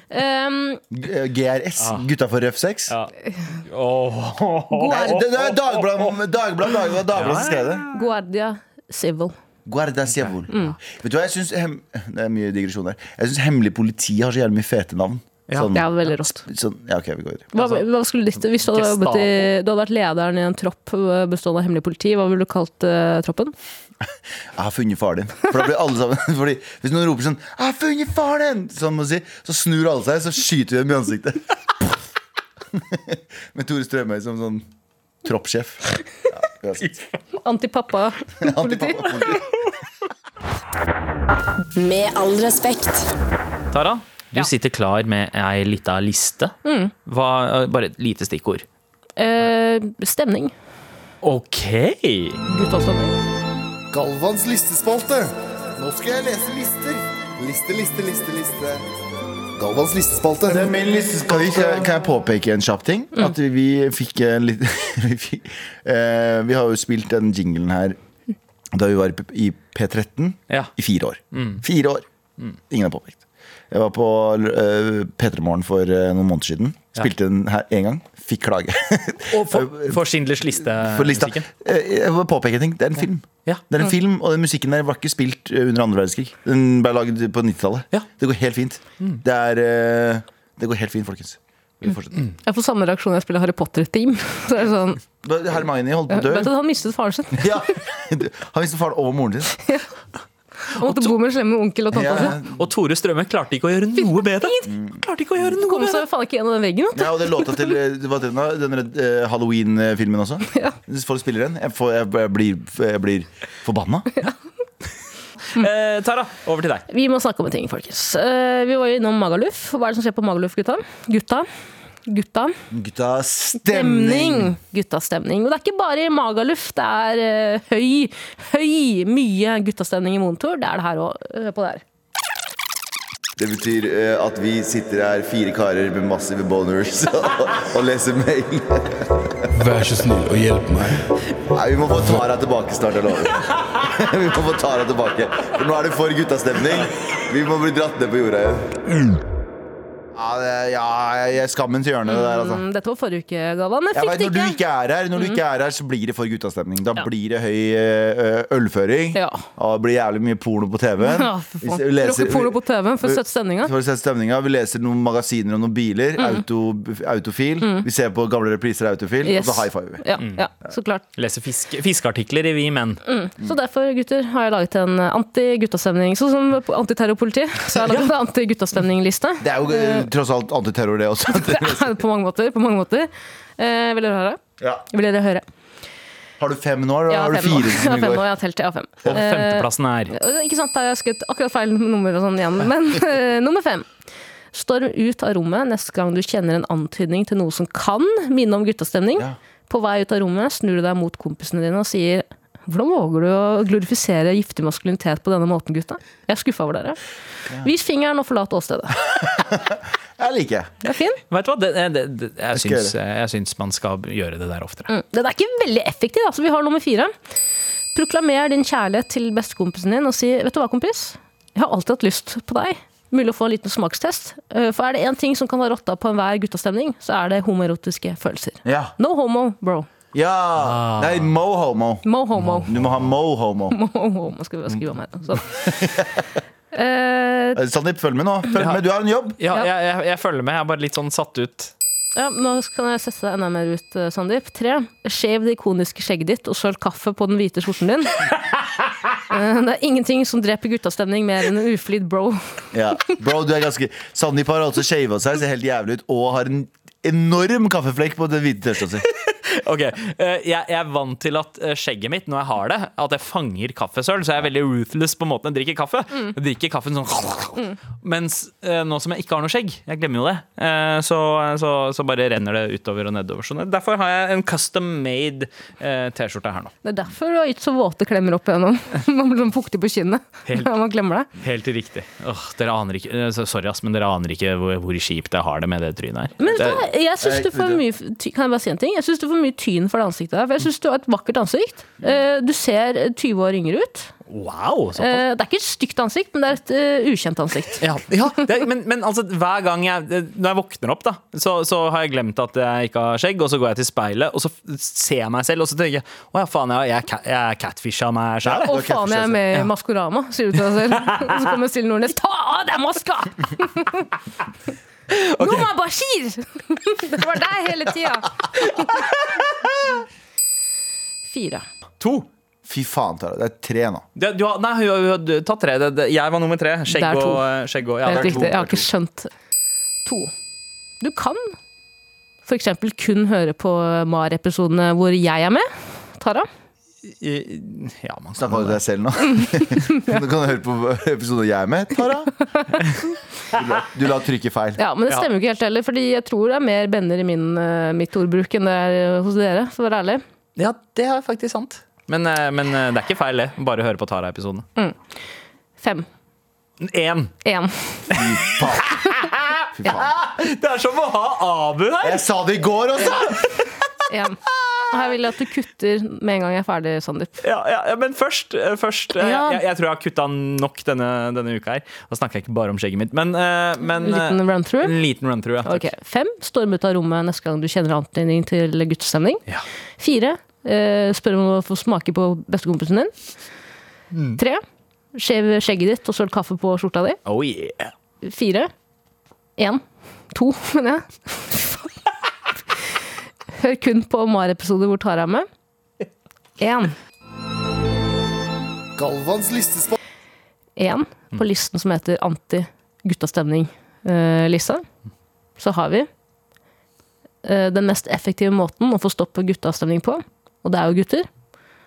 C: Um,
D: G- GRS, Gutta for røff sex.
B: Ah. Ja. Åh.
D: Nei, det, det er Dagbladet Dagblad, Dagblad, Dagblad som skrev det.
C: Guardia Civil.
D: Guarda Siavol. Vet du hva, jeg synes hem, Det er mye digresjon der. Jeg syns hemmelig politi har så jævlig mye fete navn. Sånn,
C: Det er veldig rått.
D: sånn, ja, ok, vi går videre.
C: Hva, hva skulle ditt, hvis du hadde, jobbet i, du hadde vært lederen i en tropp øh, bestående av hemmelig politi, hva ville du kalt øh, troppen?
D: Jeg har funnet faren din. For da blir alle sammen fordi Hvis noen roper sånn 'Jeg har funnet faren din!' Sånn må man si, så snur alle seg, så skyter vi dem i ansiktet. Med Tore Strømøy som sånn troppssjef. Ja, uansett.
C: Antipappa.
D: Antipappa-politi.
E: Med all respekt.
B: Tara, du sitter klar med ei lita liste. Hva, eh, bare et lite stikkord.
C: Eh, stemning.
B: Ok!
C: Guttastemning.
G: Galvans listespalte. Nå skal jeg lese lister. Liste, liste, liste, liste. Galvans listespalte. Mm.
F: Det er min
D: Kan, vi,
F: listespalte.
D: kan jeg påpeke en kjapp ting? At vi fikk en litt vi, fikk, eh, vi har jo spilt den jinglen her da vi var i P- i P13
B: Ja.
D: i fire år. Fire år. Ingen har påpekt. Jeg var på eh, P3 Morgen for eh, noen måneder siden. Spilte den her én gang. Fikk klage.
B: Og for, for Schindlers liste.
D: For lista.
B: musikken.
D: Eh, Jeg må påpeke en ting. Det er en film.
B: Ja.
D: Det er en film, Og den musikken der var ikke spilt eh, under andre verdenskrig. Den ble laget på 90-tallet.
B: Ja. Mm.
D: Det går helt fint. Det er eh, Det går helt fint, folkens. Vi
B: Mm.
D: Mm. fortsetter.
C: Jeg får samme reaksjon når jeg spiller Harry Potter-team. Så er det sånn
D: Da- Hermione holdt på å dø.
C: Vet du, han mistet faren sin.
D: Ja. Han visste faren og moren sin.
C: Han måtte bo med en slemme onkel og tanta si.
D: Ja,
B: Og Tore Strømme klarte ikke å gjøre noe bedre. Klarte ikke å gjøre noe
C: Kom
B: bedre.
C: seg faen ikke gjennom den veggen. vet du.
D: ja, og det låta til eh, hva heter den, da? den eh, Halloween-filmen også. Hvis Folk spiller den. Jeg, får, jeg, jeg, blir, jeg blir forbanna.
B: Eh, Tara, over til deg.
C: Vi må snakke om en ting, folkens. Eh, vi var jo innom Magaluf. Hva er det som skjer på Magaluf, gutta? Gutta. Gutta.
D: Gutta, stemning!
C: Stemning. Guttastemning. Og det er ikke bare i Magaluf. Det er eh, høy, høy, mye guttastemning i Montor. Det er det her òg. Hør på det her.
D: Det betyr eh, at vi sitter her, fire karer med massive boners, og, leser mail.
G: Vær så snill og hjelp meg.
D: Nei, Vi må få Tara tilbake snart, jeg lover. Vi må få Tara tilbake. For nå er det for guttastemning. Vi må bli dratt ned på jorda igjen. Ja, det, ja jeg er skammens hjørne, det der, altså.
C: Mm, Dette var forrige uke, Galvan. Men
D: Jeg
C: fikk
D: vet,
C: det
D: når du
C: ikke. Mm.
D: ikke er her, når du ikke er her, så blir det for guttastemning. Da
C: Ja.
D: blir det høy eh, ølføring.
C: Ja.
D: Og det blir jævlig mye porno på TV-en.
C: Ja, for faen. Rockeporno på TV-en for å sette stemninga.
D: For å sette stemninga. Vi leser noen magasiner og noen biler.
C: Mm.
D: Auto, autofil. Vi ser på gamle repriser av Autofil,
C: Yes.
D: og så high five. vi.
C: Ja, ja, så klart.
B: Leser fisk, fiskeartikler i Vi menn.
D: Mm.
C: Så derfor, gutter, har jeg laget en eh, anti-guttastemning. Sånn som på antiterrorpoliti. Så jeg har laget en anti-guttastemning-liste.
D: Det er jo eh, tross alt antiterror, det også.
C: Det er På mange måter. På mange måter. Eh, vil dere høre?
D: ja.
C: Vil dere høre?
D: Har du fem nå, eller
C: Jeg
D: har
C: har
D: du
C: fem nå.
D: fire
C: Jeg har
D: som i
C: fem nå,
D: går?
C: jeg har telt. Jeg har fem.
B: Og femteplassen er
C: Eh, Ikke sant, der har jeg skrevet akkurat feil nummer og sånn igjen. Men eh, nummer fem. Storm ut av rommet neste gang du kjenner en antydning til noe som kan minne om guttastemning. På vei ut av rommet snur du deg mot kompisene dine og sier hvordan våger du å glorifisere giftig maskulinitet på denne måten, gutta? Jeg er skuffa over dere. Vis fingeren og forlat åstedet.
D: Jeg liker det.
C: Det er fin.
B: Vet du hva, det, det, det, jeg,
D: skal
B: syns, eh, jeg syns man skal gjøre det der oftere.
C: Mm. Den er ikke veldig effektiv, da, så vi har nummer fire. Proklamer din kjærlighet til bestekompisen din og si 'Vet du hva, kompis? Jeg har alltid hatt lyst på deg'. Mulig å få en liten smakstest. Eh, For er det én ting som kan ha rotta på enhver guttastemning, så er det homoerotiske følelser.
D: Ja. Ah.
C: No homo, bro.
D: ja. Nei, mo homo.
C: Mo homo.
D: Du må ha mo homo.
C: Mo homo skal vi skrive om her. Sånn. Eh,
D: Eh, Sandeep, følg med nå. Følg med, Du har en jobb.
B: Ja,
C: Ja.
B: jeg, jeg, jeg følger med. Jeg er bare litt sånn satt ut.
C: ja, nå kan jeg sette deg enda mer ut, eh, Sandeep. Tre. Shave det ikoniske skjegget ditt og søl kaffe på den hvite skjorten din. Eh, Det er ingenting som dreper guttastemning mer enn en uflidd bro.
D: Ja. Bro, du er ganske Sandeep har altså shava seg, ser helt jævlig ut, og har en enorm kaffeflekk på den hvite T-skjorta si.
B: Ok, eh, jeg, jeg er vant til at eh, skjegget mitt, når jeg har det, at jeg fanger kaffesøl. Så jeg er veldig ruthless på måten jeg drikker kaffe. Jeg drikker kaffen sånn Mens eh, nå som jeg ikke har noe skjegg, jeg glemmer jo det, eh, så, så, så bare renner det utover og nedover. Så derfor har jeg en custom made eh, T-skjorte her nå.
C: Det er derfor du har gitt så våte klemmer opp igjennom. Man blir sånn fuktig på kinnet
B: Helt.
C: når man glemmer det.
B: Helt riktig. Åh, dere aner ikke eh, så- Sorry, ass, men dere aner ikke hvor, hvor kjipt jeg har det med det trynet her.
C: Men vet du
B: det,
C: hva, jeg syns
D: Nei,
C: du får
D: vet du-
C: mye Kan jeg bare si en ting? Jeg syns du får mye tyn for det ansiktet der. For jeg syns du har et vakkert ansikt. Eh, Du ser 20 år yngre ut.
B: Wow! såpass.
C: Eh, Det er ikke et stygt ansikt, men det er et eh, ukjent ansikt.
B: Ja, ja det, er- men, men altså, hver gang jeg Når jeg våkner opp, da så, så har jeg glemt at jeg ikke har skjegg, og så går jeg til speilet, og så f- ser jeg meg selv, og så tenker jeg Å ja, faen, jeg, jeg, ca- jeg catfisha meg sjæl.
C: Og
D: det er
C: faen, jeg er med i Maskorama, sier du til deg selv. Og så kommer Silje Nordnes. Ta av deg maska! Noma Bashir! Det var deg hele tida. Fire.
B: To!
D: Fy faen, Tara. Det er tre nå.
B: Det, du har, nei, hun har- hun har tatt tre. Det, det, jeg var nummer tre. Skjegg
C: Det er to.
B: og eh, skjegg og ja,
C: Helt
B: det er
C: riktig.
B: to.
C: Jeg har ikke skjønt To. Du kan f.eks. kun høre på MAR-episodene hvor jeg er med. Tara.
B: I- Ja, man
D: Snakka du til deg selv nå? Nå kan du høre på episoden jeg er med, Tara. Du la, du la trykket feil.
C: Ja, Men det
B: Ja.
C: stemmer jo ikke helt heller, Fordi jeg tror det er mer bender i min, eh, mitt ordbruk enn det er eh, hos dere. For å være ærlig
B: Ja, det er faktisk sant. Men, eh, men eh, det er ikke feil, det. Bare høre på Tara-episodene.
C: Fem.
B: Én!
C: Én.
D: Fy faen.
B: Det er som å ha Abu her!
D: Jeg sa det i går også!
C: Én. Og Her vil jeg at du kutter med en gang jeg er ferdig, Sandeep.
B: Ja, ja, ja, men først, eh, først eh,
C: Ja.
B: jeg, jeg tror jeg har kutta nok denne, denne uka her. Da snakker jeg ikke bare om skjegget mitt, men, eh, men eh,
C: Liten run-through.
B: en liten run-through. Ja, takk.
C: Ok, Fem. Storm ut av rommet neste gang du kjenner antydning til guttstemning.
B: Ja.
C: Fire. Eh, spør om å få smake på bestekompisen din. Tre. Skjev skjegget ditt og søl kaffe på skjorta di.
B: Oh yeah.
C: Fire. Én. To, mener jeg. Hør kun på MAR-episoder hvor Tara er med. Én.
G: Galvans listespalte.
C: Én på listen som heter anti-guttastemning-lista. Så har vi eh, den mest effektive måten å få stopp på guttastemning på, og det er jo gutter,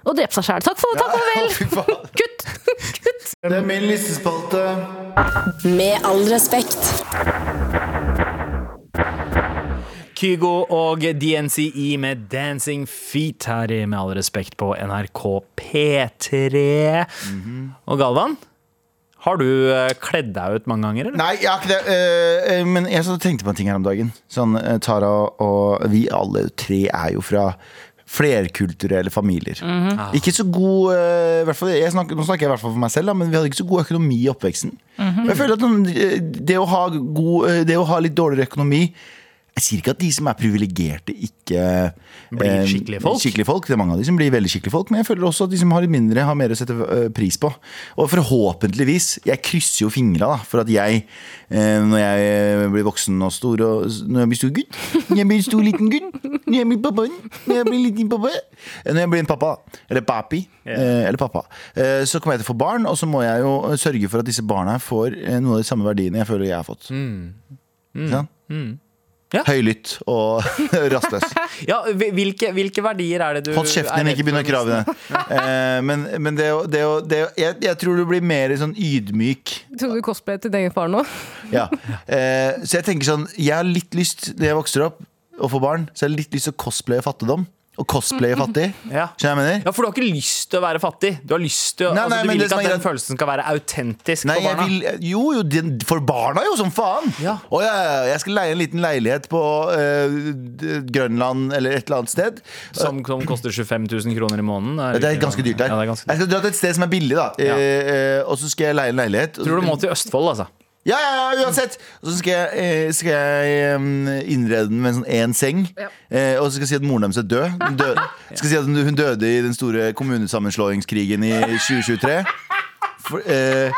C: å drepe seg sjæl. Takk for takk og vel!
D: Fy faen.
C: Kutt! Kutt!
G: Det er min listespalte.
E: Med all respekt.
B: Kygo og DNCE E med 'Dancing Feet' her i Med all respekt på NRK P3.
D: Mhm.
B: Og Galvan, har du eh, kledd deg ut mange ganger, eller?
D: Nei, jeg har ikke det. eh, eh, men jeg så tenkte på en ting her om dagen. Sånn, eh, Tara og vi alle tre er jo fra flerkulturelle familier.
B: Ah.
D: Ikke så god eh, i hvert fall, jeg snakker, Nå snakker jeg i hvert fall for meg selv, da, men vi hadde ikke så god økonomi i oppveksten. Jeg føler at sånn, eh, det, å ha god, eh, det å ha litt dårligere økonomi jeg sier ikke at de som er privilegerte, ikke
B: Blir
D: eh,
B: skikkelige folk.
D: skikkelige folk. Det er mange av de som blir veldig skikkelige folk, men jeg føler også at de som har litt mindre, har mer å sette eh, pris på. Og forhåpentligvis, jeg krysser jo fingra da, for at jeg, eh, når jeg blir voksen og stor, og s- når jeg blir stor gutt, når jeg blir stor liten gutt, når jeg blir pappa, når jeg blir liten pappa, eh, når jeg blir en pappa, eller papi, eh, eller pappa, eh, så kommer jeg til å få barn, og så må jeg jo øh, sørge for at disse barna får eh, noen av de samme verdiene jeg føler jeg har fått. Ikke sant?
B: Ja.
D: Høylytt og rastløs.
B: Ja, hvil- hvilke, hvilke verdier er det du
D: Hold kjeften
B: er
D: din,
B: redd
D: ikke begynn å
B: for
D: grave i det. Eh, men men det, å- det, å- det, å- jeg, jeg tror du blir mer sånn ydmyk.
C: Tror du cosplay til din egen far nå?
D: Ja. Eh, så jeg tenker sånn Jeg har litt lyst, når jeg vokser opp og får barn, så jeg har litt lyst til å cosplaye fattigdom. Og cosplaye fattig.
B: Ja.
D: Skjønner du hva jeg
B: Ja,
D: mener?
B: for du har ikke lyst til å være fattig. Du har lyst til,
D: Nei,
B: altså,
D: nei,
B: du
D: men
B: vil
D: det
B: ikke
D: som
B: at
D: er
B: den
D: greit-
B: følelsen skal være autentisk
D: Nei,
B: for
D: jeg
B: barna.
D: vil, jo, jo, den- for barna jo, som faen!
B: Ja.
D: Å, ja, ja, jeg skal leie en liten leilighet på eh, d- Grønland eller et eller annet sted.
B: Som, som koster 25 000 kroner i måneden.
D: Ja, Det er ganske dyrt der.
B: Ja, det er ganske
D: Jeg
B: dyrt.
D: skal dra til et sted som er billig, da.
B: Ja.
D: Eh, eh, og så skal jeg leie en leilighet. og så
B: Tror du
D: skal-
B: må til Østfold, altså.
D: Ja, ja, ja, uansett Og så skal jeg, eh, skal jeg em, innrede den med en sånn en seng eh, Og så skal jeg si at moren deres er død Hun dø- Skal si at hun- hun døde i den store kommunesammenslåingskrigen i 2023 For, eh,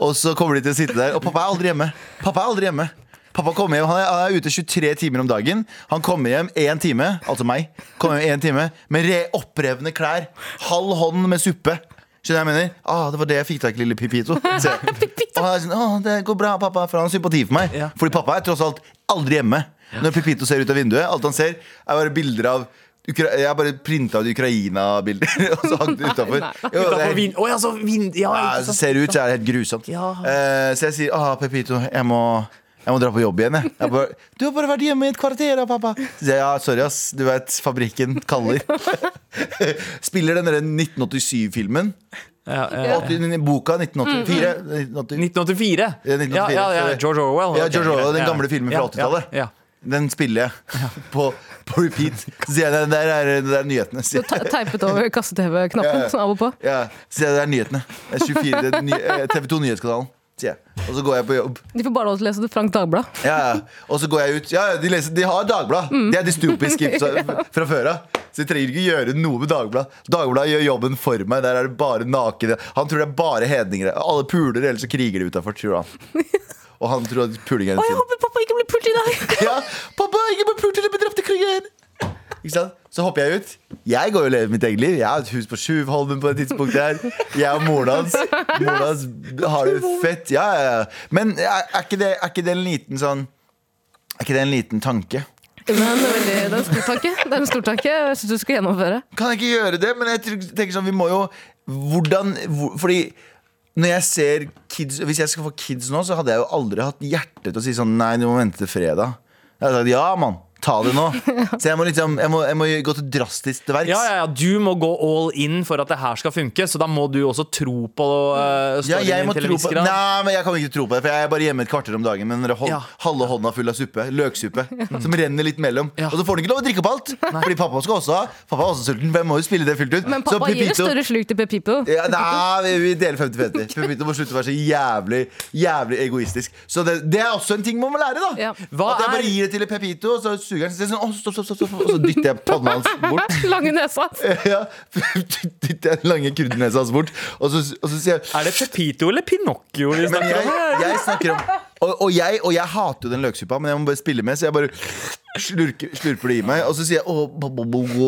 D: Og så kommer de til å sitte der Og pappa er aldri hjemme Pappa er aldri hjemme Pappa kommer hjem, han er, han er ute 23 timer om dagen Han kommer hjem en time, altså meg Kommer hjem en time med re opprevne klær Halv hånd med suppe Skjønner jeg hva jeg mener? Ah, det var det jeg fikk tak i lille Pipito Se. Og han er sånn, «Åh, det går bra pappa For han har sympati for meg
B: Ja.
D: Fordi pappa er tross alt aldri hjemme Når Pipito ser ut av vinduet Alt han ser er bare bilder av Ukra jeg har bare printet ut Ukraina-bilder Og så hangt det utenfor
C: nei.
D: Jo, det er-
B: Utenfor vind... Å ja, så vind... Ja,
D: ja,
B: ikke
D: så
B: sant.
D: ser det ut, så er det helt grusomt.
B: Ja.
D: Eh, så jeg sier ah, Pepito, jeg må, jeg må dra på jobb igjen. Jeg. Jeg bare, du har bare vært hjemme i et kvarter, da, pappa. Så sier jeg, ja, sorry, ass. Du vet, fabrikken kaller. Spiller den der 1987-filmen.
B: Ja, ja, Mm, ja.
D: Boka 1984. 1984.
B: 1984.
D: Ja, 1984.
B: Ja, ja, ja, George Orwell.
D: Ja,
B: Ok,
D: George Orwell,
B: greit.
D: den
B: Ja.
D: gamle filmen fra
B: Ja,
D: 80-tallet.
B: Ja, ja.
D: Den spiller jeg på, på repeat. Så sier jeg, der er, der er nyhetene.
C: Du
D: Sier jeg.
C: ta- Teipet over kasse-TV-knappen
D: Ja.
C: sånn av og på.
D: Ja, sier jeg, det er nyhetene. Det er 24, det er ny, eh, TV 2 Nyhetskanalen, sier jeg. Og så går jeg på jobb.
C: De får bare lov til å lese det Frank Dagblad.
D: Ja, ja. Og så går jeg ut. Ja, ja, de, leser, de har Dagblad.
C: Mm.
D: Det er dystopisk fra, fra før av. Så jeg trenger ikke gjøre noe med Dagblad. Dagblad gjør jobben for meg. Der er det bare nakne. Han tror det er bare hedninger. Alle puler, eller så kriger de utafor, tror han. Og han tror at puling er
C: Å,
D: en
C: jeg
D: synd.
C: håper pappa ikke blir pult i dag!
D: Ja, pappa, ikke bare puler, men drepte krigen! Ikke sant? Så hopper jeg ut. Jeg går jo og lever mitt eget liv. Jeg har et hus på Sjuvholmen på det tidspunktet her. Jeg og moren hans. Moren hans har det fett. Ja, ja, ja. Men er, er, ikke det, er ikke det en liten sånn Er ikke det en liten tanke?
C: Men det er veldig- det er en stor tanke. Det er en stor tanke jeg syns du skal gjennomføre.
D: Kan jeg ikke gjøre det? Men jeg tror- tenker sånn, vi må jo Hvordan hvor, Fordi når jeg ser kids Hvis jeg skal få kids nå, så hadde jeg jo aldri hatt hjerte til å si sånn Nei, du må vente til fredag. Jeg hadde sagt ja, mann. Ta det nå. Så jeg må liksom Jeg må, jeg må gå til drastisk til verks.
B: Ja, ja, ja, Du må gå all in for at det her skal funke, så da må du også tro på uh,
D: Ja,
B: storyen
D: jeg må
B: din til en
D: tro
B: viss
D: på
B: grad.
D: Nei, men jeg kan ikke tro på det, for jeg er bare hjemme et kvarter om dagen med den hold,
B: Ja. Mm.
D: halve hånda full av suppe. Løksuppe. Som renner litt mellom.
B: Ja.
D: Og så får du ikke lov å drikke opp alt! Fordi pappa skal også ha. Pappa er også sulten, for jeg må jo spille det fullt ut.
C: Men pappa
D: så
C: gir et
D: Pepito
C: større sluk til Pepito.
D: ja, Nei, vi, vi deler 50-50. Pepito må slutte å være så jævlig jævlig egoistisk. Så det, det er også en ting man må lære, da.
C: Ja.
B: Hva
D: At jeg
B: er-
D: bare gir det til Pepito, og så suger han så sier jeg sånn, «Åh, stopp, stopp, stopp, stopp, og så dytter jeg panna hans bort.
C: Lange nesa.
D: Ja, dytter jeg den lange kurdenesa hans bort, og så, og så sier jeg
B: Er det Pepito eller Pinocchio vi
D: Men
B: snakker om?
D: jeg,
B: her?
D: jeg snakker om og, og, jeg, og jeg hater jo den løksuppa, men jeg må bare spille med, så jeg bare slurker, slurper det i meg. Og så sier jeg åh, bo, bo, bo, bo,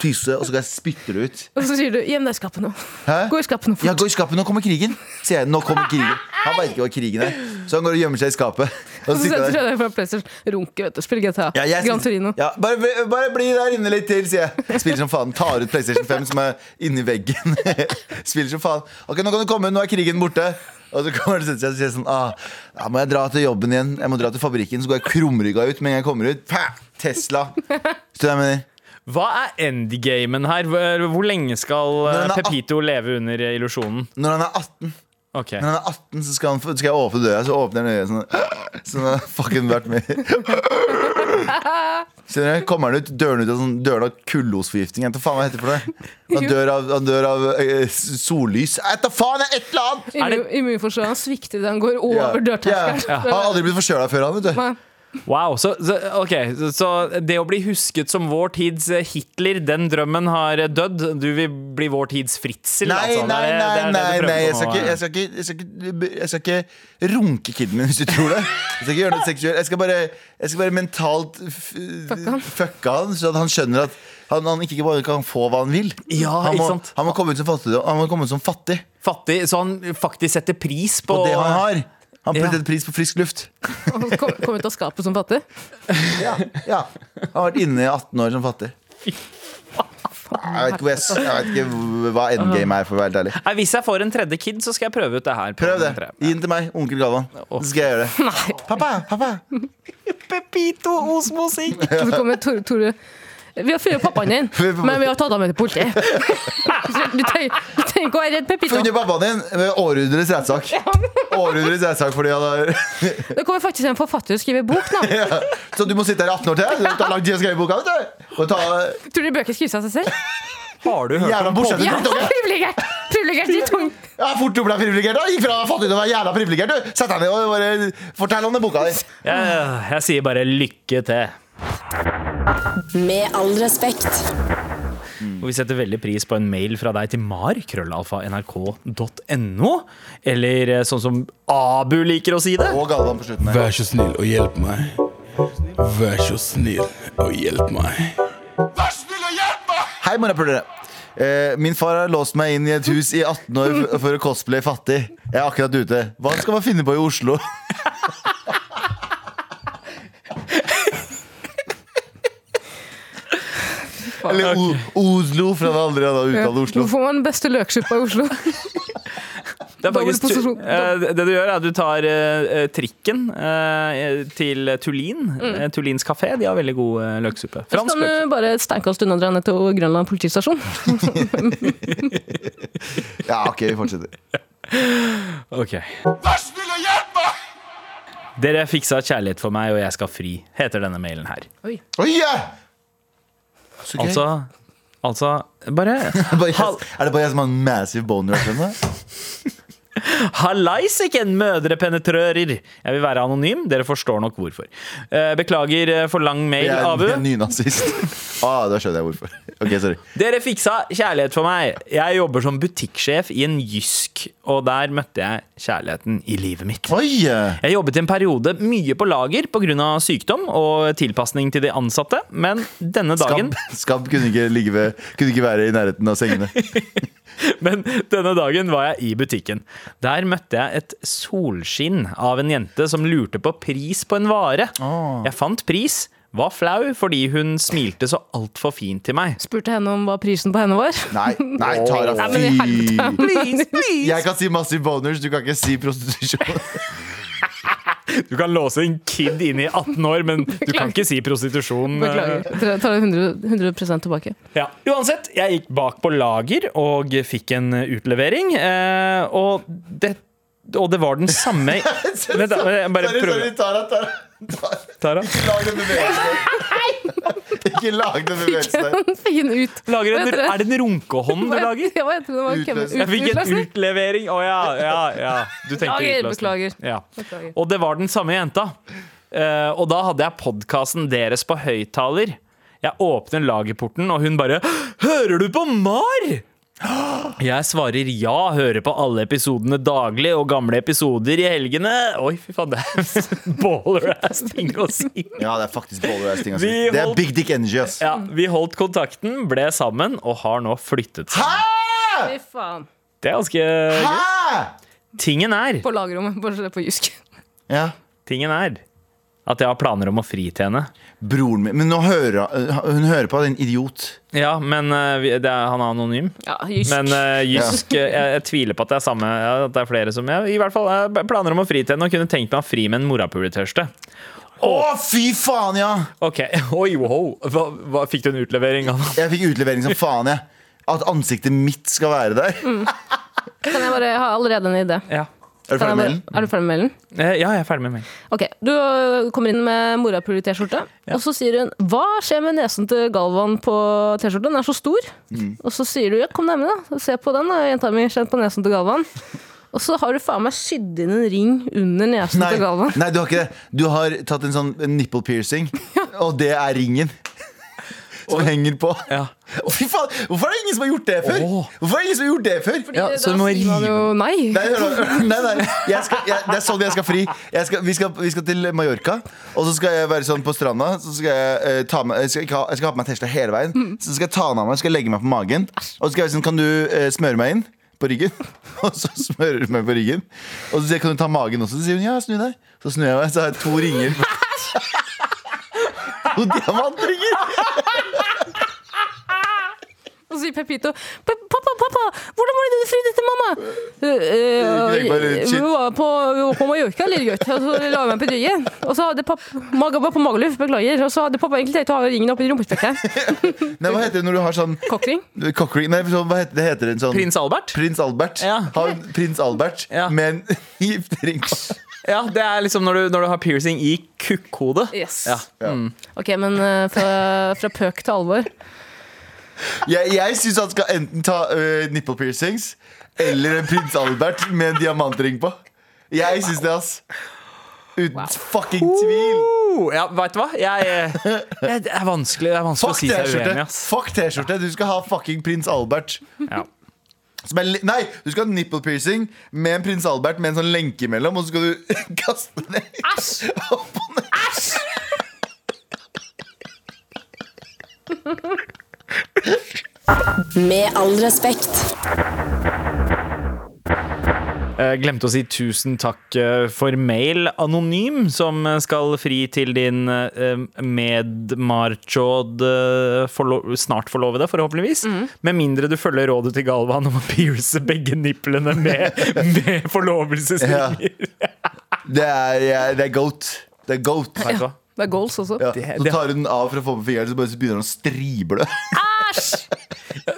D: tyse, og så kan jeg spytte det ut.
C: Og så sier du 'gjem deg i skapet nå'.
D: Hæ?
C: Gå i skapet nå.
D: Ja, gå i skapet, nå kommer krigen! Sier jeg. Nå kommer krigen. Han veit ikke hva krigen er, så han går og gjemmer seg i skapet.
C: Og
D: Og så
C: så setter
D: sitter han
C: du
D: der.
C: deg fra PlayStation. Runke, vet du. Spille GTA.
D: Ja, jeg-
C: Gran Torino.
D: Ja, bare, bli- bare bli der inne litt til, sier jeg. Spiller som faen. Tar ut PlayStation 5, som er inni veggen. Spiller som faen. Ok, nå kan du komme, nå er krigen borte. Og så kommer han og setter seg og sier sånn ah, ja, Må jeg dra til jobben igjen? Jeg må dra til fabrikken. Så går jeg krumrygga ut med en gang jeg kommer ut. Pæ! Tesla. Så jeg mener
B: Hva er endgamen her? Hvor hvor lenge skal uh,
D: Men den er
B: Pepito leve under illusjonen?
D: Når han er 18,
B: Ok
D: Når han er 18 så skal, han, få- skal jeg åpne døra, så åpner han øyet sånn. Sånn har fucking vært med. Skjønner du? Kommer han ut, dør han ut av sånn dør han av kullosforgiftning. Jeg vet da faen hva det heter for det. Han dør av, han dør av eh, sollys. Jeg vet da faen, det er et eller annet!
B: Er det-
C: Immu- Immunforsvaret hans svikter da han går
D: Ja,
C: over dørterskelen.
D: ja. Han har aldri blitt forkjøla før, han, vet du.
C: Nei.
B: Wow, så, så, ok, så- så det å bli husket som vår tids eh, Hitler, den drømmen har eh, dødd. Du vil bli vår tids Fritzel,
D: Nei,
B: altså. Det
D: nei,
B: er- det
D: nei,
B: er det
D: nei,
B: du prøver
D: nei.
B: på
D: Jeg, skal
B: nå,
D: ikke,
B: ja.
D: jeg, skal ikke, jeg, skal ikke, jeg skal ikke runke kiden min, hvis du tror det. Jeg skal ikke gjøre noe seksuelt. Jeg skal bare, jeg skal bare mentalt f-
C: han.
D: fucke han, så at han skjønner at han, han ikke bare kan få hva han vil.
B: Ja,
D: han, må,
B: ikke sant?
D: han må komme ut som fattig. Han må komme ut som fattig
B: Fattig, så han faktisk setter pris på
D: på det han har. Han
B: Ja.
D: setter pris på frisk luft.
C: Og så kom, kom ut av skapet som fattig.
D: Ja, Han har vært inne i 18 år som fattig. Jeg vet ikke, hvor jeg, s- jeg vet ikke hva endgame er, for å være helt ærlig.
B: Nei, Hvis jeg får en tredje kid, så skal jeg prøve ut det her. på
D: Prøv det.
B: den tre.
D: Gi den til meg, onkel Galvan. Så skal jeg gjøre det. Pappa, pappa!
B: Pepito Osmosing!
C: Og så kommer Tore, Tore Vi har fyrt pappaen din, men vi har tatt ham med til politiet. Så Du trenger du trenger ikke å være redd, Pepito.
D: Funnet pappaen din ved århundrets rettssak. Århundrets rettssak fordi han har
C: Det kommer faktisk en forfatter og skriver bok nå.
D: ja. Så du må sitte her i 18 år til? Det tar lang tid å skrive boka? vet du. Og ta
C: Tror du bøker skrives av seg selv?
B: Har du hørt
D: jævla
B: om
D: bortsett
C: Ja,
D: fra drittunge?
C: privilegert! Privilegert drittunge.
D: Ja, fort du ble privilegert, da. Gikk fra fattig til å være jævla privilegert, du. Sett deg ned og bare fortell om den boka di.
B: Jeg, jeg sier bare lykke til.
E: Med all respekt.
B: Og vi setter veldig pris på en mail fra deg til mar.krøllalfa.nrk.no. Eller eh, sånn som Abu liker å si det.
D: Og Galvan på slutten her.
H: Vær så snill og hjelp meg. Vær så snill og hjelp meg.
D: Hei, morapulere. Eh, min far har låst meg inn i et hus i 18 år f- for å cosplaye fattig. Jeg er akkurat ute. Hva skal man finne på i Oslo? Eller o Oslo, for han har aldri hadde uttalt Oslo.
C: Hvor får man den beste løksuppa i Oslo?
B: Det, er faktisk,
C: Dobbel posisjon.
B: Eh, det du gjør, er at du tar eh, eh, trikken eh, til Tulin. Eh, Tulins kafé. De har veldig god eh, løksuppe.
C: Så
B: Fransk
C: kan
B: løksuppe.
C: Mm. du bare et steinkast unna dra ned til Grønland politistasjon.
D: Ja, ok, vi fortsetter.
B: Ok. Dere fiksa kjærlighet for meg, og jeg skal fri, heter denne mailen her.
D: Oi, ja! Så gøy.
B: Altså, altså bare
D: Bare
B: Hal-
D: jeg, er det bare jeg som har en massive boner? akkurat nå?
B: Hallaisiken, mødrepenetrører! Jeg vil være anonym, dere forstår nok hvorfor. Eh, Beklager eh, for lang mail,
D: Jeg er
B: Abu.
D: en nynazist. Ah, da skjønner jeg hvorfor. Ok, sorry.
B: Dere fiksa kjærlighet for meg. Jeg jobber som butikksjef i en Jysk, og der møtte jeg kjærligheten i livet mitt.
D: Oi! eh,
B: Jeg jobbet i en periode mye på lager pga. sykdom og tilpasning til de ansatte, men denne dagen
D: Skabb Skabb kunne, ikke ligge ved- kunne ikke være i nærheten av sengene.
B: Men denne dagen var jeg i butikken. Der møtte jeg et solskinn av en jente som lurte på pris på en vare. Jeg fant pris, var flau fordi hun smilte så altfor fint til meg.
C: Spurte henne om hva prisen på henne var.
D: Nei, nei Tara,
C: Nei, men i helvete.
D: fy!
B: Please, please.
D: Jeg kan si massive boners, du kan ikke si prostitusjon.
B: Du kan låse en kid inn i 18 år, men du kan ikke si prostitusjon. eh,
C: Beklager. Jeg tar det 100, 100 tilbake.
B: Ja. Uansett, jeg gikk bak på lager og fikk en utlevering, eh, og det og det var den samme Vent, da, jeg bare
D: Sorry, sorry,
B: prøver.
D: Tara, Tara. Tara.
B: Tara.
D: Ikke lag den bevegelsen. Ikke lag den bevegelsen.
C: Den fikk den ut.
B: Lager
C: Hva
B: en,
C: heter det?
B: er det en runkehånd du lager?
C: Ja, hva heter det? det? var kem-
D: Utløsning.
B: Jeg fikk en
C: utløsning?
B: utlevering. Å ja, ja, ja. Du tenkte
C: Beklager,
B: utløsning.
C: beklager.
B: Ja.
C: Beklager.
B: Og det var den samme jenta. Eh, og da hadde jeg podkasten deres på høyttaler. Jeg åpner lagerporten, og hun bare 'Hører du på MAR?!' Jeg svarer ja, hører på alle episodene daglig og gamle episoder i helgene. Oi, fy faen, det er baller-ass ting å si.
D: Ja, det er faktisk baller-ass-ting.
B: Vi
D: Det er
B: holdt-
D: big dick energy, ass.
B: Ja, vi holdt kontakten, ble sammen og har nå flyttet sammen.
D: Hæ?
C: Fy faen.
B: Det er ganske
D: Hæ?
B: Tingen er
C: På lagerrommet, bortsett fra på Jysk.
D: Ja.
B: Tingen er at jeg har planer om å fri til henne.
D: Broren min Men nå hører hun hører på, den idiot.
B: Ja, men eh, vi- det er, han er anonym.
C: Ja, Jysk.
B: Men eh, Jysk eh, jeg, jeg tviler på at det er samme ja, At det er flere som ja, I hvert fall jeg har planer om å fri til henne og kunne tenkt meg å fri med en morapuletørste.
D: Å, fy faen, ja!
B: Ok, oi, wow. Hva, hva, fikk du en utlevering av
D: Jeg fikk utlevering som faen, jeg. At ansiktet mitt skal være der.
C: Kan jeg bare ha allerede en idé?
B: ja.
D: Er du
C: Kan jeg
D: ferdig med
C: bare-
D: den?
C: Er du ferdig med mailen?
B: Eh, ja, jeg er ferdig med meg.
C: Ok, Du ø, kommer inn med morapul i T-skjorte, og så sier hun 'Hva skjer med nesen til Galvan på T-skjorta? Den er så stor.' Og så sier du 'Ja, kom nærmere, da. Se på den, da, jenta mi. Kjenn på nesen til Galvan.' og så har du faen meg sydd inn en ring under nesen
D: Nei,
C: til Galvan.
D: nei, du har ikke det. Du har tatt en sånn nipple piercing, og det er ringen. Som henger på.
B: Ja.
D: Å, Fy faen, Hvorfor er det ingen som har gjort det før?
B: Åh.
D: Hvorfor er det ingen som har gjort det før?
B: Ja, så du må
C: sier man
B: rive.
C: jo nei.
D: Nei, hør da. nei, nei. Jeg skal, jeg, det er sånn jeg skal fri. Jeg skal, vi, skal, vi skal til Mallorca, og så skal jeg være sånn på stranda. Så skal jeg, eh, ta med, jeg, skal ikke ha, jeg skal ha på meg Tesla hele veien. Så skal jeg ta den av meg skal jeg legge meg på magen. Og så skal jeg være sånn, kan du eh, smøre meg inn på ryggen? Og så smører du meg på ryggen. Og så sier jeg, kan du ta magen også? Så sier hun ja, snu deg. Så snur jeg meg, så har jeg to ringer. To diamantringer!
C: Og så sier Pepito «Pa- 'Pappa, pappa, hvordan var det du fridde til mamma?' «Eh,
D: Ikke legg meg litt
C: vi
D: shit.
C: var på, vi var på Mallorca, lille gutt, og så la jeg meg på ryggen. Og så hadde pappa Maga var på Magaluf, beklager. Og så hadde pappa egentlig tenkt å ha ringen oppi rumpespekket.
D: Nei, hva heter det når du har sånn
C: Cockring.
D: cockring? Nei, sånn, hva heter det? heter en sånn
B: Prins Albert?
D: Prins Albert.
B: Ja.
D: Har en prins Albert
B: Ja.
D: med en giftering på.
B: Ja, Det er liksom når du, når du har piercing i kukkhodet.
C: Yes.
B: Ja.
C: Ok, men eh, fra, fra pøk til alvor.
D: Jeg, jeg syns han skal enten ta øh, nipple piercings eller en prins Albert med en diamantring på. Jeg syns det, ass. Uten fucking tvil.
B: Uh, ja Veit du hva? Jeg, eh, jeg, det er vanskelig, det er vanskelig å
D: Fuck
B: si seg uenig,
D: T-skjorte.
B: ass.
D: Fuck T-skjorte Du skal ha fucking prins Albert.
B: Ja.
D: Som er li nei, du skal ha nipple piercing med en prins Albert med en sånn lenke imellom, og så skal du kaste den ned.
C: Æsj!
D: Opp og ned.
E: Med all respekt.
B: Eh, Glemte å si tusen takk eh, for mail anonym, som eh, skal fri til din eh, medmarchod eh, forlo snart forlovede, forhåpentligvis. Med mindre du følger rådet til Galvan om å pierce begge nipplene med, med forlovelsesringer.
D: Det er, ja, det er goat. Det er goat.
B: Vet du hva?
C: Det er goals også.
D: Ja.
B: Det-
D: Så
B: det-
D: tar hun den av for å få på fingeren, så bare så begynner han å strible.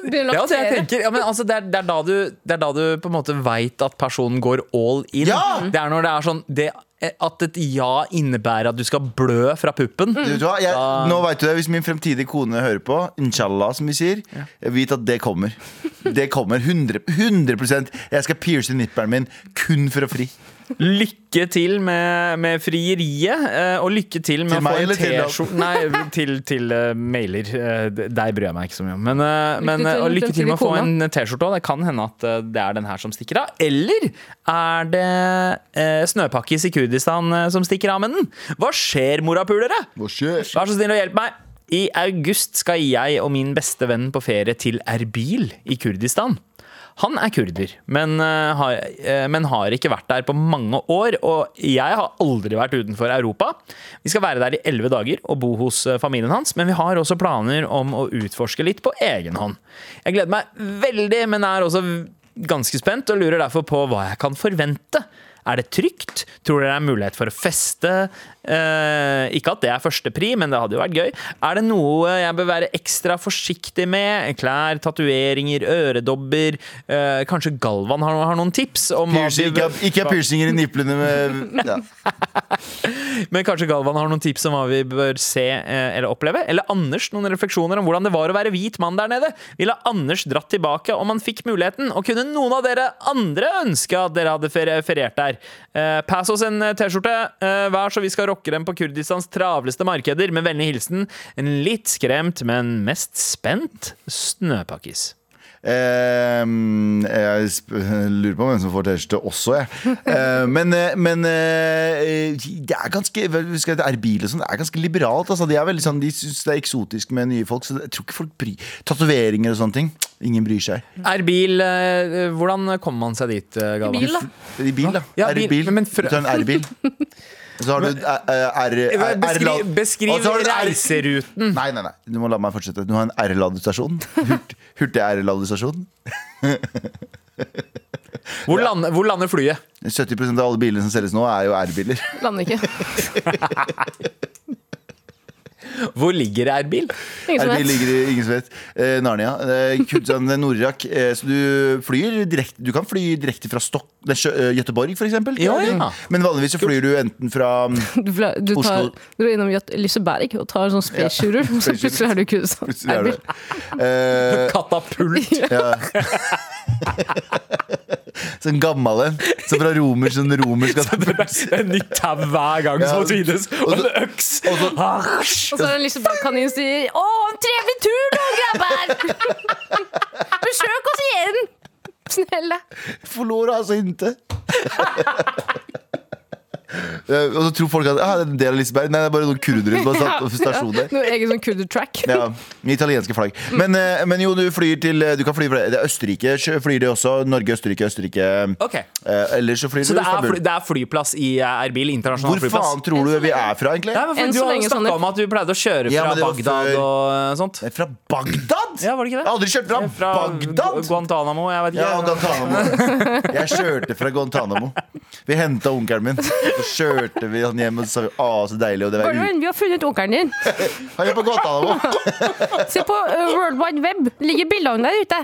C: Begynner
B: Det er,
C: å
B: altså, jeg
C: laktere.
B: tenker, ja, men altså, det, er, det, er da du, det er da du på en måte veit at personen går all in.
D: Ja!
B: Det er når det er sånn det eh, at et ja innebærer at du skal blø fra puppen.
D: Du vet hva? Jeg, nå vet du det, Hvis min fremtidige kone hører på, inshallah, som vi sier, vit at det kommer. Det kommer 100, 100 Jeg skal pierce nipperen min kun for å fri.
B: Lykke til med, med frieriet, eh, og lykke til med
D: Til meg
B: å få en
D: eller til
B: T-skjorte Nei, til, til eh, mailer. Eh, d- Deg bryr jeg meg ikke så mye om. Men, eh, men
C: til
B: eh, og lykke
C: fremtidig
B: til med å få
C: kone.
B: en T-skjorte òg. Det kan hende at eh, det er den her som stikker av. Eller er det eh, snøpakkis i Kurdistan eh, som stikker av med den? Hva skjer, morapulere?
D: Hva skjer?
B: Vær så snill og hjelp meg! I august skal jeg og min beste venn på ferie til Erbil i Kurdistan. Han er kurder, men, eh, har, eh, men har ikke vært der på mange år. Og jeg har aldri vært utenfor Europa. Vi skal være der i elleve dager og bo hos eh, familien hans, men vi har også planer om å utforske litt på egen hånd. Jeg gleder meg veldig, men er også ganske spent og lurer derfor på hva jeg kan forvente. Er det trygt? Tror dere det er mulighet for å feste? Eh, ikke at det er førstepri, men det hadde jo vært gøy. Er det noe jeg bør være ekstra forsiktig med? Klær, tatoveringer, øredobber? Eh, kanskje Galvan har, har noen tips? Om hva
D: Piercing,
B: vi
D: ikke,
B: bør-
D: ikke ha piercinger i nipplene med ja.
B: Men kanskje Galvan har noen tips om hva vi bør se eh, eller oppleve? Eller Anders noen refleksjoner om hvordan det var å være hvit mann der nede? Ville Anders dratt tilbake om han fikk muligheten? Og kunne noen av dere andre ønske at dere hadde fer- feriert der? Eh, pass oss en eh, T-skjorte eh, hver, så vi skal rocke dem på Kurdistans travleste markeder. Med vennlig hilsen en litt skremt, men mest spent snøpakkis.
D: Eh, jeg sp- lurer på hvem som får T-skjorte også, jeg. Eh, men eh, men eh, det er ganske vel, vi skal til Erbil og sånn, det er ganske liberalt. Altså. De, er veldig sånn, de syns det er eksotisk med nye folk, så jeg tror ikke folk bryr Tatoveringer og sånne ting. Ingen bryr seg.
B: Erbil, eh, hvordan kommer man seg dit, eh, Galvan?
C: Bil, da.
D: I bil, da.
B: Ja, bil.
D: Erbil.
B: Men- men
D: Du
B: fra-
D: tar en R-bil. Og Så har du eh, R-lad.
B: Beskriv, beskriv reiseruten.
D: Nei, nei, nei. Du må la meg fortsette. Du har en R-ladestasjon. Hurt- Hurtig R-ladestasjon.
B: Hvor, lander- hvor lander flyet?
D: 70 av alle bilene som selges nå, er jo R-biler.
C: Lander ikke.
B: Hvor ligger Erbil?
C: Ingen som
D: Erbil
C: vet.
D: ligger i ingen som vet. Eh, Narnia. Eh, Kurdistan, det er Nord-Irak. Eh, så du flyr direkte Du kan fly direkte fra Stok det er Sjø- eh, Gøteborg, for eksempel.
B: Ja, ja.
D: Men vanligvis så flyr du enten fra
C: Du, fla- du tar,
D: Oslo.
C: drar innom Jøt- Liseberg og tar en sånn space shooter, så
D: space
C: plutselig er du i Kurdistan.
D: Plutselig er du
C: Erbil.
D: der. Eh,
B: Katapult.
D: Sånn gammel en. Så fra romer, sånn romersk
B: En nytt tau hver gang som må tvinnes. Og en øks.
C: Og så er det en Liseberg-kanin som sier 'Å, en trevlig tur nå, grabber'! Besøk oss igjen! Snille.
D: Forlora altså inte. Eh, og så tror folk at ah, det er en del av Liseberg. Nei, det er bare noen kurdere som har satt opp stasjon der.
C: Noe eget sånn kurder-track.
D: Ja, med italienske flagg. Men, eh, men jo, du flyr til Du kan fly fra det er Østerrike. sjø- Flyr de også. Norge, Østerrike, Østerrike.
B: Ok.
D: Eh, eller så flyr
B: Så
D: du
B: det er,
D: Istanbul.
B: fly, det er flyplass i eh, Erbil? Internasjonal
D: Hvor
B: flyplass?
D: faen tror du vi er fra, egentlig?
B: Nei, men for
C: Enn
B: du
C: så
B: har jo
C: lenge,
B: snakka
C: Sander.
B: om at du pleide å kjøre fra
D: Ja, men det var
B: Bagdad
D: før-
B: og eh, sånt.
D: Det er Fra Bagdad?
B: Ja, var det ikke det?
D: Jeg har aldri kjørt fra,
B: Fra Gu-
D: Bagdad!
B: Guantánamo, jeg vet ikke.
D: Ja, og Guantanamo. Jeg kjørte fra Guantánamo. Vi henta onkelen min. Så kjørte vi han hjem, og så sa vi å, så deilig. Og det var ut.
C: Barnevenn, vi har funnet onkelen din.
D: Han er på Guantánamo.
C: Se på eh, World Wide Web. Ligger bildene der ute.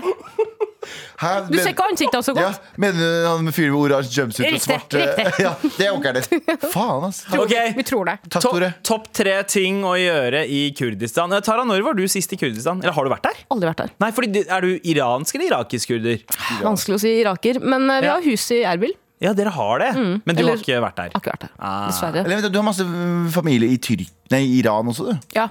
D: Hæ?
C: Du ser ikke ansiktet hans så
D: ja,
C: godt.
D: Mener du han med fyren med oransje jumpsuit og
C: Riktig,
D: svart eh, Ja, det er onkelen din. Faen, ass. Takk,
B: Ok,
C: Vi tror det.
D: takk
B: Topp
D: Tore.
B: topp tre ting å gjøre i Kurdistan. Eh, Tara, når var du sist i Kurdistan? Eller har du vært der?
C: Aldri vært der.
B: Nei, fordi du- Er du iransk eller irakisk kurder?
C: Vanskelig å si iraker. Men eh, vi
B: Ja.
C: har hus i Erbil.
B: Ja, dere har det. Men du
C: Mm. Eller-
B: har ikke vært der.
C: Har ikke vært der,
B: Ah.
C: dessverre.
D: Eller, vent, da, du har masse mm, familie i Tyr... Nei, i Iran også, du?
C: Ja.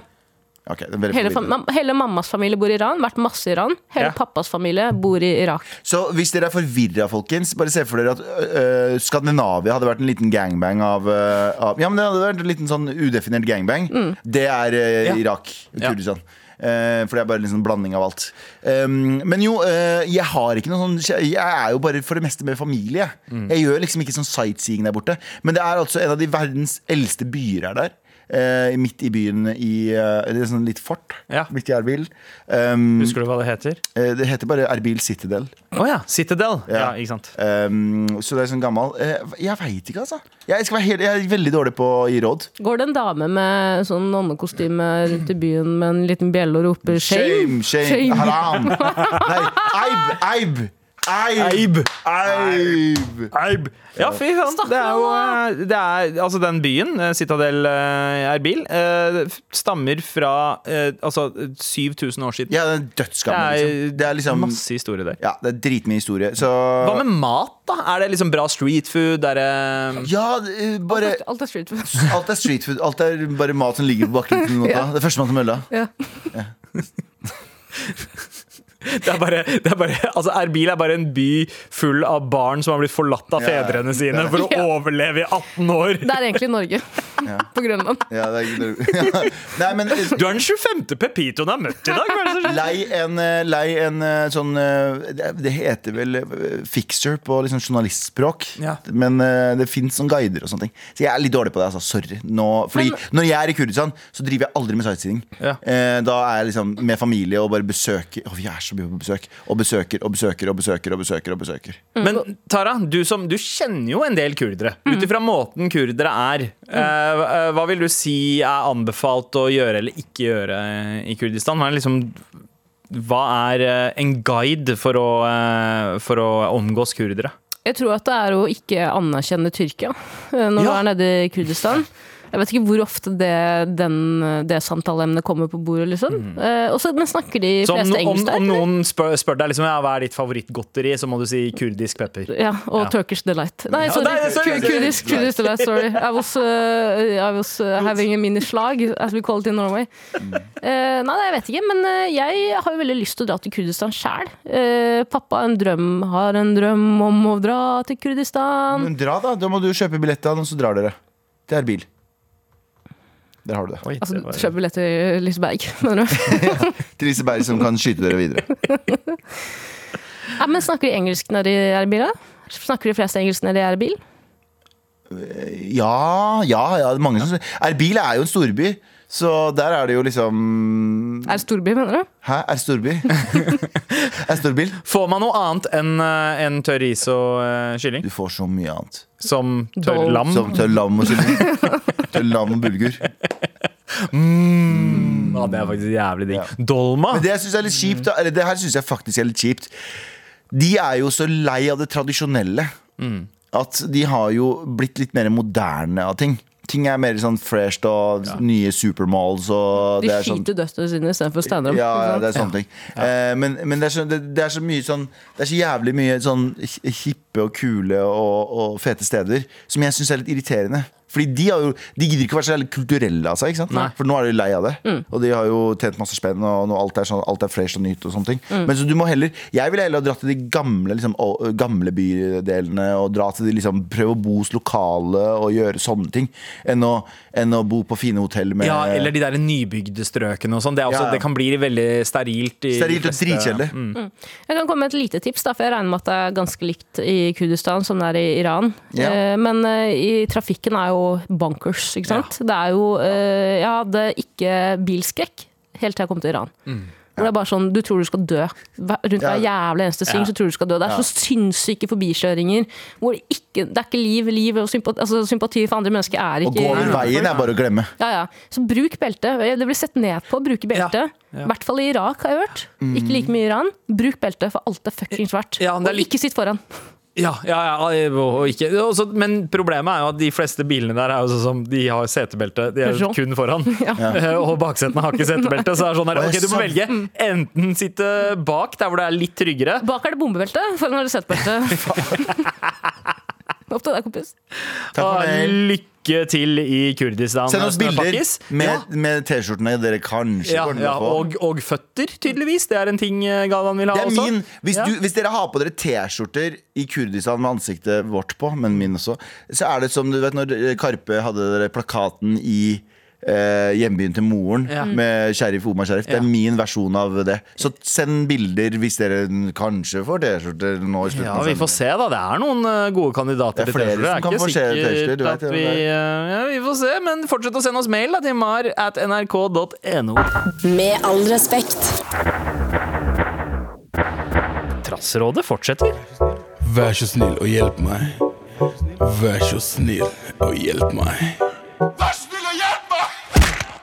D: Ok, det er veldig
C: Hele,
D: familie.
C: fam hele mammas familie bor i Iran. Vært masse i Iran. Hele
B: Ja.
C: pappas familie bor i Irak.
D: Så hvis dere er forvirra, folkens, bare se for dere at øh, øh, Skandinavia hadde vært en liten gangbang av, øh, av Ja, men det hadde vært en liten sånn udefinert gangbang. Det er
B: Mm.
D: øh,
B: Ja.
D: Irak.
B: Ja.
D: Kurdistan. Eh, for det er bare en liksom blanding av alt. Um, men jo, eh, jeg har ikke noe sånn Jeg er jo bare for det meste med familie.
B: Mm.
D: Jeg gjør liksom ikke sånn sightseeing der borte. Men det er altså en av de verdens eldste byer er der. eh, midt i byen i eh, Det er sånn litt fort.
B: Ja.
D: Midt i Erbil. Um,
B: Husker du hva det heter?
D: eh, det heter bare Erbil Citadel.
B: Å ja. Citadel. Ja, ikke sant.
D: Um, så det er sånn gammel eh, Jeg veit ikke, altså. Jeg, skal være helt, jeg er veldig dårlig på å gi råd.
C: Går det en dame med sånn nonnekostyme rundt i byen med en liten bjelle og roper 'shame'?
D: Shame, shame, haram. Nei, eib, eib.
B: Eib.
D: Eib.
B: Eib. Ja, fy faen. Det er jo eh, det er, Altså, den byen, eh, Citadel eh, Erbil, eh, f- stammer fra eh, altså 7000 år siden.
D: Ja, det er dødsgammel,
B: Det er-
D: liksom. Det er liksom
B: Masse historie der.
D: Ja, det er dritmye historie. Så
B: Hva med mat, da? Er det liksom bra street food? Er det
D: Ja, eh, bare
C: Alt er street food.
D: Alt er street food. Alt er bare mat som ligger på bakken til noen. da. Det er førstemann til mølla.
C: Ja.
B: Det er bare, det er bare altså Erbil er bare en by full av barn som har blitt forlatt av
D: Ja.
B: fedrene sine for å
C: Ja.
B: overleve i 18 år.
C: Det er egentlig Norge. På Grønland.
D: Ja, det er, ja. Nei, men
B: Du er den 25. Pepitoen jeg har møtt i dag. Hva er det som skjer?
D: Lei en, eh, lei en eh, sånn eh, Det det heter vel eh, fixer på liksom journalistspråk.
B: Ja.
D: Men eh, det fins sånn guider og sånne ting. Så jeg er litt dårlig på det. altså, Sorry. Nå, fordi når jeg er i Kurdistan, så driver jeg aldri med sightseeing.
B: Ja.
D: Eh, Da er jeg liksom med familie og bare besøker. Å, vi er så mye på besøk. Og besøker og besøker og besøker og besøker. og besøker
C: Mm.
B: Men Tara, du, som, du kjenner jo en del kurdere. Ut ifra måten kurdere er,
C: Mm.
B: eh, hva vil du si er anbefalt å gjøre eller ikke gjøre i Kurdistan? Hva er, liksom, hva er eh, en guide for å, eh, for å omgås kurdere?
C: Jeg tror at det er å ikke anerkjenne Tyrkia eh, når du
B: Ja.
C: er nede i Kurdistan. Jeg vet ikke hvor ofte det, den, det samtaleemnet kommer på bordet, liksom. Eh, og så- men snakker de
B: Så om,
C: fleste
B: no- om,
C: engelsk der?
B: om
C: eller?
B: noen spør, spør deg liksom, ja, hva er ditt favorittgodteri, så må du si kurdisk pepper.
C: Ja, og
B: Ja.
C: Turkish Delight. Nei,
B: Ja,
C: sorry.
B: nei, sorry,
C: Kur-
B: sorry.
C: Kurdisk, Kurdish Delight, sorry. I was, uh, I was uh, having a mini slag, as we call it in Norway.
B: Mm.
C: Eh, nei, jeg vet ikke, men eh, jeg har jo veldig lyst til å dra til Kurdistan sjæl. pappa en drøm, har en drøm om å dra til
B: Mm.
C: Kurdistan.
D: Men dra, da. Da må du kjøpe billett av den, så drar dere. Det er bil. Der har du det.
B: Oi,
C: Altså,
B: det var-
C: kjøp billett til Liseberg, mener du?
D: Til Liseberg som kan skyte dere videre.
C: Nei, men snakker de engelsk når de er i bil, da? Snakker de fleste engelsk når de er i bil?
D: Ja, ja, ja. det er Mange som Erbil er jo en storby, så der er det jo liksom
C: Er det storby, mener du?
D: Hæ, er storby? er storbil?
B: Får man noe annet enn eh, enn tørr is og eh, kylling?
D: Du får så mye annet.
B: Som tørr
C: Dol.
B: lam?
D: Som tørr lam og kylling. Tørr lam og bulgur.
B: Ja, det er faktisk jævlig digg.
D: Ja.
B: Dolma?
D: Men det jeg synes er litt kjipt, da- eller det her syns jeg faktisk er litt kjipt. De er jo så lei av det tradisjonelle
C: Mm.
D: at de har jo blitt litt mer moderne av ting. Ting er mer sånn fresh og nye supermalls og
C: De
D: det er sånn-
C: skyter dødsene sine istedenfor standup.
D: Ja,
C: ikke sant?
D: ja, det er sånne ting. Eh, men men det, er så, det, det er så mye sånn Det er så jævlig mye sånn hi- hippe og kule og, og fete steder som jeg syns er litt irriterende. Fordi de, har jo, de gidder ikke å være så jævlig kulturelle av seg, ikke sant? for nå er de lei av det.
B: Mm.
D: Og de har jo tjent masse spenn, og nå alt er, sånn, alt er fresh og nytt. og sånne ting
B: Mm.
D: Men så du må heller Jeg ville heller ha dratt til de gamle, liksom, å- gamle bydelene og dra til de liksom prøve å bo hos lokale og gjøre sånne ting, enn å, enn å bo på fine hotell med
B: Ja, eller de der nybygde strøkene og sånn. Det, er også-
D: eh, Ja, ja.
B: det kan bli veldig sterilt. i de
D: Sterilt og
B: fleste- Mm.
D: dritkjedelig.
C: Jeg kan komme med et lite tips, da, for jeg regner med at det er ganske likt i Kurdistan som det er i Iran.
D: Ja.
C: Eh, Men eh, i trafikken er jo bunkers, ikke sant. Det er jo eh, Jeg hadde ikke bilskrekk helt til jeg kom til Iran. Hvor Det er bare sånn, Du tror du skal dø. Hver- Rundt hver jævla eneste sving så tror du du skal dø. Det er så sinnssyke forbikjøringer hvor det ikke, det er ikke liv. Liv og sympati, altså, sympati for andre mennesker er
D: Å
C: ikke
D: gå over veien er bare å glemme.
C: ja, ja. Så bruk belte. Det blir sett ned på å bruke belte. I hvert fall i Irak, har jeg hørt. Ikke like mye i Iran. Bruk belte, for alt er fuckings svært.
B: Mm. Ja, men det er
C: og
B: litt-
C: ikke sitt foran.
B: Ja, ja, ja og ikke. og så- men problemet er jo at de fleste bilene der er jo sånn som de har setebelte. De er jo
C: Peugeot.
B: kun foran. Eh, Og baksetene har ikke setebelte. Så er det sånn der,
D: Å,
B: ok, du må
D: sant.
B: velge enten sitte bak, der hvor det er litt tryggere.
C: Bak er det bombebelte, foran er det setebelte. Opp til deg, kompis.
D: Takk for
B: Og
D: mail.
B: lykke til i Kurdistan.
D: Send oss bilder
B: Snøpakkis. Ja.
D: med, med T-skjortene dere kanskje
B: Ja,
D: kommer til
B: ja,
D: å få.
B: og, og føtter, tydeligvis. Det er en ting eh, Galvan vil ha
D: det er
B: også.
D: min. Hvis,
B: Ja.
D: du, hvis dere har på dere T-skjorter i Kurdistan med ansiktet vårt på, men min også, så er det som du vet når eh, Karpe hadde dere plakaten i eh, hjembyen til moren
B: Ja.
D: med sheriff Omar Sheriff. Det
B: Ja.
D: er min versjon av det. Så send bilder hvis dere kanskje får T-skjorter nå i slutten
B: Ja,
D: av
B: vi får
D: sendingen.
B: se, da. Det er noen eh, gode kandidater til
D: Det er flere
B: T-skjorter. Det er
D: som kan
B: ikke
D: få se T-skjorter,
B: sikkert
D: du vet
B: at
D: jo
B: vi
D: det.
B: eh, Ja, vi får se, men fortsett å sende oss mail da, til mar at nrk.no.
E: Med all respekt.
B: Trassrådet fortsetter.
H: Vær så snill og hjelp meg. Vær så snill og hjelp meg.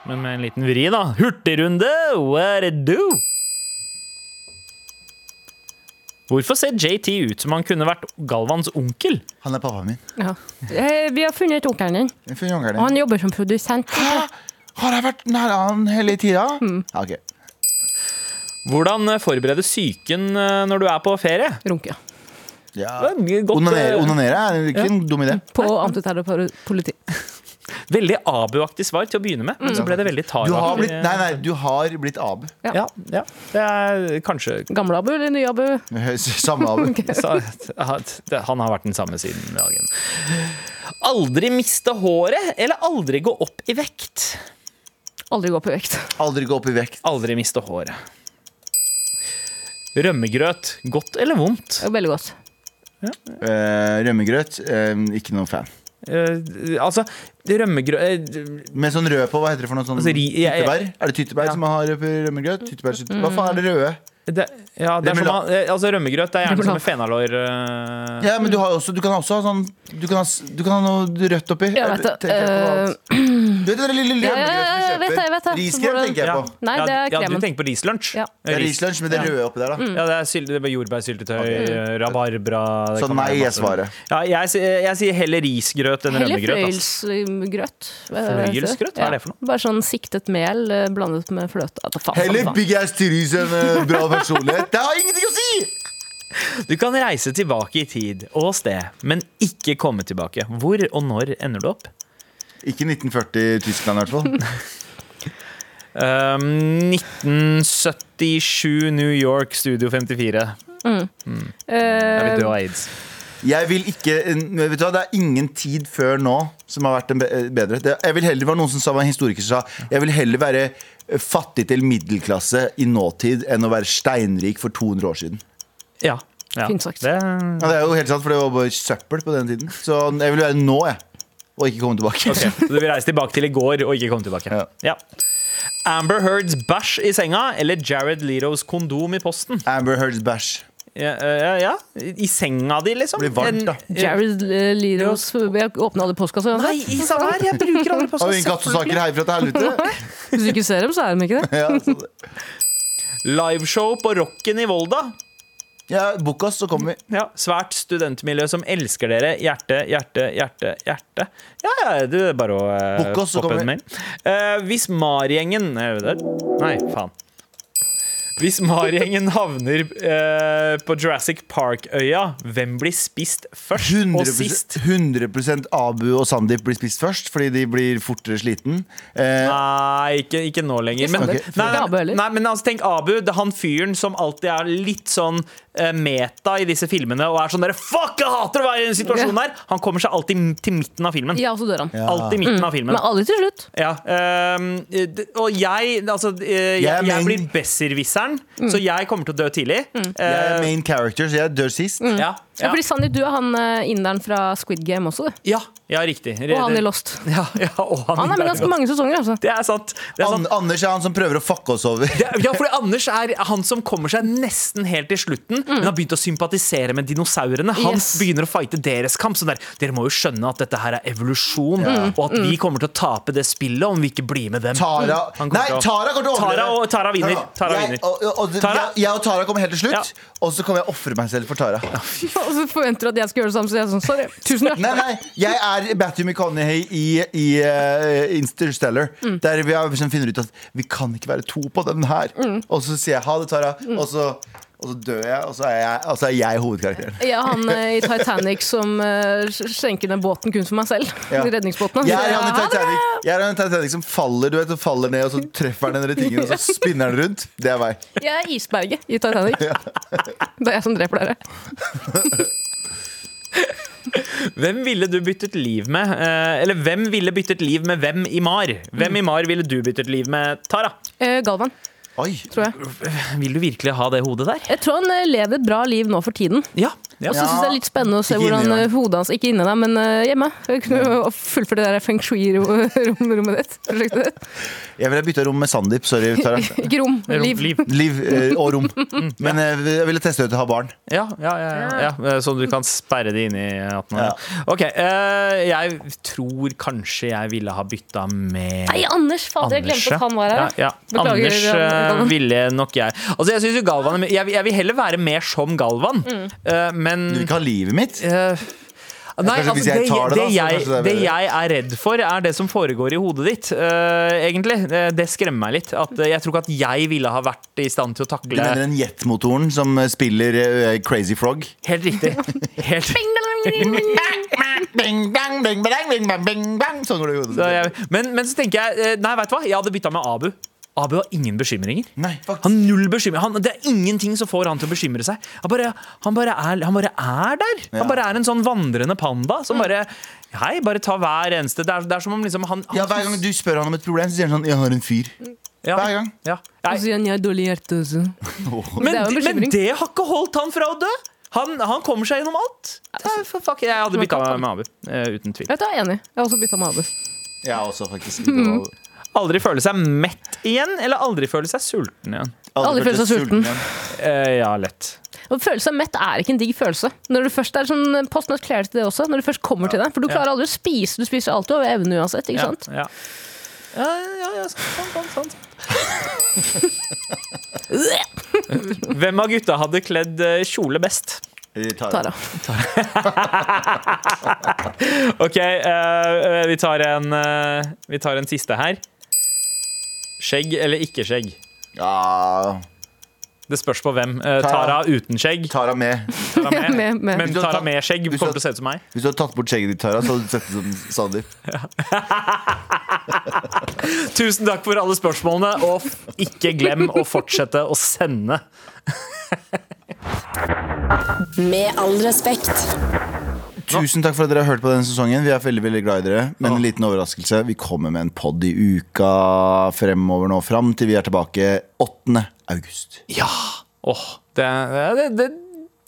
B: Men med en liten vri, da. Hurtigrunde, what it do? Hvorfor ser JT ut som han kunne vært Galvans onkel?
D: Han er pappaen min.
C: Ja. Eh, Vi har funnet onkelen din,
D: Jeg får jongere.
C: og han jobber som produsent.
D: Har jeg vært nær han hele tida?
B: Mm.
D: Ja, ok.
B: Hvordan eh, forbereder psyken eh, når du er på ferie?
C: Runke.
D: Ja.
B: Det er mye godt,
D: Onanere,
B: eh,
D: onanere er ikke en dum idé.
C: På antiterrorpoliti.
B: Veldig Abu-aktig svar til å begynne med, men så ble det veldig Tara.
D: Mm. Du har blitt, nei, nei, du har blitt abu.
B: Ja, ja, det er kanskje
C: Gamle Abu eller nye Abu?
D: Samme abu.
B: sa- det- Han har vært den samme siden dagen. Aldri miste håret, eller aldri gå opp i vekt?
C: Aldri gå på vekt.
D: Aldri gå opp i vekt.
B: Aldri miste håret. Rømmegrøt, godt eller vondt?
C: Det er Veldig godt.
D: Eh, rømmegrøt, eh, ikke noen fan.
B: Eh, altså, eh, rømmegrøt
D: Med sånn rød på, hva heter det for noe sånn
B: Altså, ri- jeg- jeg-
D: tyttebær? Er det tyttebær
B: Ja.
D: som har rømmegrøt? Tyttebær, tyttebær. Hva faen er det røde?
C: Mm.
B: det, ja, det er som,
D: Remoulade.
B: man- eh, altså, Rømmegrøt det er gjerne som en
C: Remoulade.
B: fenalår eh,
D: Ja, men du, har jo også, du kan også ha sånn Du kan ha, s- du kan ha noe rødt oppi.
C: Jeg vet det.
D: Tenker jeg på noe annet. Du vet den lille
C: ja, ja, jeg
D: rømmegrøten
C: vet
D: vi
C: det, jeg vet
D: kjøper?
C: det.
D: Riskrem
C: Hvordan-
D: tenker jeg på.
C: Nei,
B: ja,
C: det er
B: ja,
C: kremen.
B: Du tenker på rislunsj?
C: Ja. Mm.
D: Ja, Rislunsj med det røde oppi der, da.
B: Ja, det er syl- det er jordbærsyltetøy, eh, rabarbra det
D: Så
B: kan være
D: nei er
B: masse.
D: svaret.
B: Ja, jeg, sier- jeg sier heller risgrøt enn
C: Heller
B: rømmegrøt. ass.
C: fløyelsgrøt.
B: Fløyelsgrøt? Hva er det for
C: Bare sånn siktet mel eh, blandet med fløte. Ja, faen,
D: Heller
C: faen, faen.
D: big ass til ris enn eh, bra personlighet. Det har ingenting å si!
B: Du kan reise tilbake i tid og sted, men ikke komme tilbake. Hvor og når ender du opp?
D: Ikke 1940 Tyskland, i hvert fall.
B: Um, 1977 New York, Studio Mm. 54.
C: Mm. Eh,
B: Jeg vil dø av aids.
D: Jeg vil ikke eh, Vet du hva, Det er ingen tid før nå som har vært en be- eh, bedre. Det, jeg vil heller, det var noen som sa, det var en historiker som sa Jeg vil heller være eh, fattig til middelklasse i nåtid enn å være steinrik for 200 år siden.
B: Ja. ja.
C: Fint sagt.
B: Det,
D: Ja, det er jo helt sant, for det var bare søppel på den tiden. Så jeg vil være nå, jeg. Og ikke komme tilbake.
B: ok, Så du vil reise tilbake til i går og ikke komme tilbake?
D: Ja.
B: Ja. Amber Heards bæsj i senga eller Jared Leros kondom i posten?
D: Amber Heard's bæsj.
B: Ja, eh, ja, ja. I senga di, liksom.
D: Blir varmt, da.
B: En-
C: Jared eh, Liros Jeg åpner alle postkasser
B: Nei,
C: uansett.
B: i samme her. Jeg bruker aldri
D: Har vi ingen kattesaker herfra til helvete?
C: Hvis du ikke ser dem, så er de ikke det.
D: Ja, så det-
B: Liveshow på Rocken i Volda.
D: ja, Bukk oss, så kommer vi.
B: Ja, Svært studentmiljø som elsker dere. Hjerte, hjerte, hjerte, hjerte. Ja, ja, det er bare å eh,
D: Bukk oss, så
B: poppe en
D: kommer
B: mail. Eh, hvis Marigjengen Er det der? Nei, faen. Hvis Marigjengen havner eh, på Jurassic Park-øya, hvem blir spist først og
D: 100%,
B: sist?
D: 100 Abu og Sandeep blir spist først, fordi de blir fortere sliten. Eh,
B: Nei, ikke, ikke nå lenger. Men,
D: Ok.
B: nei,
C: Ikke Abu
B: nei,
C: heller.
B: nei, men altså, tenk Abu, det er han fyren som alltid er litt sånn eh, meta i disse filmene og er sånn derre Fuck, jeg hater å være i den situasjonen her! Han kommer seg alltid m- til midten av filmen.
C: Ja, og så dør han.
B: Alltid midten av filmen.
C: Men aldri til slutt.
B: Ja, ehm, d- og jeg Altså, eh,
D: Jeg er
B: jeg, jeg
D: main-
B: blir besserwisseren,
C: Mm.
B: så jeg kommer til å dø tidlig.
D: jeg
B: Eh,
D: er main character, så jeg dør sist.
B: ja,
C: Ja,
B: ja,
C: fordi Sanni, du er han eh, inderen fra Squid Game også, du.
B: ja, ja, riktig.
C: Og han i Lost.
B: Ja, ja, og han,
C: Han er med
B: i-
C: ganske mange sesonger, altså.
B: Det er sant. Det er sant.
D: An Anders er han som prøver å fucke oss over.
B: Det er- Ja, fordi Anders er han som kommer seg nesten helt til slutten, men har begynt å sympatisere med dinosaurene. Han
C: Mm. Yes.
B: begynner å fighte deres kamp. Sånn der, Dere må jo skjønne at dette her er evolusjon, og at
C: Mm.
B: vi kommer til å tape det spillet om vi ikke blir med dem.
D: Tara
B: Mm. Han
D: Nei,
B: til å-
D: Tara kommer til å overleve.
B: Tara og- Tara vinner. Tara vinner.
D: Jeg, og, og, og,
B: Tara?
D: Jeg, jeg og Tara kommer helt til slutt,
B: Ja.
D: og så kommer jeg å ofre meg selv for Tara.
C: Og så forventer du at jeg skal gjøre det samme, så jeg er sånn sorry. Tusen
D: Nei,
C: hjertelig.
D: nei, jeg er Matthew McConaughey i, i eh, Interstellar. Der vi har- som finner ut at vi kan ikke være to på den her. Og så sier jeg ha det, Tara. Og, så, og så dør jeg, og så er jeg, og så er jeg hovedkarakteren.
C: Jeg er han eh, i Titanic som eh, skjenker den båten kun for meg selv.
D: Ja.
C: Redningsbåten.
D: Jeg er han i
C: Ja,
D: Titanic, jeg er han i Titanic som faller du vet, og faller ned, og så treffer han den der tingen, og så spinner han rundt. Det er meg.
C: Jeg er isberget i Titanic. Det er jeg som dreper dere.
B: Hvem ville du byttet liv med? Eh, eller hvem ville byttet liv med hvem i Mar? Hvem i Mar ville du byttet liv med, Tara?
C: Eh, Galvan,
D: Oi.
C: tror jeg.
B: Vil du virkelig ha det hodet der?
C: Jeg tror han eh, lever et bra liv nå for tiden.
B: Ja.
C: Og så syns jeg det er litt spennende å se
D: Ikke
C: hvordan
D: inni deg.
C: eh, hodet hans Ikke inni deg, men eh, hjemme. Jeg kunne jo fullføre det der feng shui-rommet ditt. Prosjektet ditt.
D: Jeg ville bytta rom med Sandeep. Sorry, Tara.
C: Ikke rom, liv.
D: Liv eh, og rom. Men eh, jeg ville teste ut å ha barn.
B: Ja, ja, ja, ja, ja. Så du kan sperre det inn i hatten.
D: Ja.
B: Ok, eh, jeg tror kanskje jeg ville ha bytta med
C: Nei, Anders! Fader, jeg
B: Anders,
C: glemte at han var her.
B: Ja, ja.
C: Beklager,
B: Anders eh,
C: Galvan.
B: ville nok jeg Altså, jeg synes jo Galvan er- jeg, jeg vil heller være mer som Galvan,
C: Mm.
B: eh, men
D: Du vil ikke ha livet mitt?
B: Eh, Nei,
D: Kanskje
B: altså,
D: hvis
B: det,
D: jeg tar det da,
B: det,
D: så
B: jeg,
D: kanskje det er
B: det
D: bedre.
B: jeg er redd for, er det som foregår i hodet ditt. eh, egentlig. Eh, Det skremmer meg litt. At, eh, jeg tror ikke at jeg ville ha vært i stand til å
D: Du
B: takle
D: mener den jetmotoren som eh, spiller eh, Crazy Frog?
B: Helt riktig. Helt
D: Sånn går det
B: Så
D: i hodet.
B: jeg, men, men så tenker jeg eh, Nei, vet du hva? Jeg hadde bytta med Abu. Abu har ingen bekymringer.
D: Nei, faktisk.
B: Han har null bekymring. Han, det er ingenting som får han til å bekymre seg. Han bare, han bare, er, han bare er der.
D: Ja.
B: Han bare er en sånn vandrende panda som bare Hei, bare ta hver eneste Det er, det er som om liksom han, han
D: Ja, Hver gang du spør han om et problem, så sier han sånn 'Jeg har en fyr'.
B: Ja.
D: Hver gang.
B: Ja.
C: Og
B: Nei,
C: så sier han, jeg har dårlig altså." hjerte også.
B: Men,
C: Det er jo en
B: det men
C: bekymring.
B: det har ikke holdt han fra å dø! Han, han kommer seg gjennom alt. Det er, for fuck, jeg hadde
C: Men
B: bytta
C: kan-
B: meg med Abu. eh, uten tvil.
C: Vet du, jeg er enig. Jeg har også bytta med Abu.
D: Jeg også, faktisk. Det var-
B: Aldri føle seg mett igjen, eller aldri føle seg sulten igjen.
C: Aldri følt seg sulten.
D: igjen.
B: Eh, ja, lett.
C: Og følelse av mett er ikke en digg følelse. Når du først er sånn Postnett Clarity det også, når du først kommer til det. For du klarer aldri å spise, du spiser alltid over evne uansett. ikke
B: Ja,
C: sant?
B: ja. Ja, ja, ja, sant, sant, sant, sant. Hvem av gutta hadde kledd eh, kjole best?
D: Eh, Tara.
C: Tara.
B: Ok, eh, eh, vi, tar en, eh, vi tar en siste her. Skjegg eller ikke skjegg?
D: Ja,
B: Det spørs på hvem. Eh, Tara uten skjegg.
D: Tara med.
B: Tara med.
C: Med, med.
B: Men Tara med skjegg
D: Hvis du
B: kommer
D: hadde-
B: til å se ut som meg.
D: Hvis du hadde tatt bort skjegget ditt, Tara, så hadde du sett ut som Sandeep.
B: Tusen takk for alle spørsmålene, og f- ikke glem å fortsette å sende.
E: Med all respekt.
D: Tusen takk for at dere har hørt på denne sesongen. Vi er veldig veldig glad i dere. Men en liten overraskelse. Vi kommer med en pod i uka fremover nå, fram til vi er tilbake 8. august.
B: Ja! Åh, det, det, det,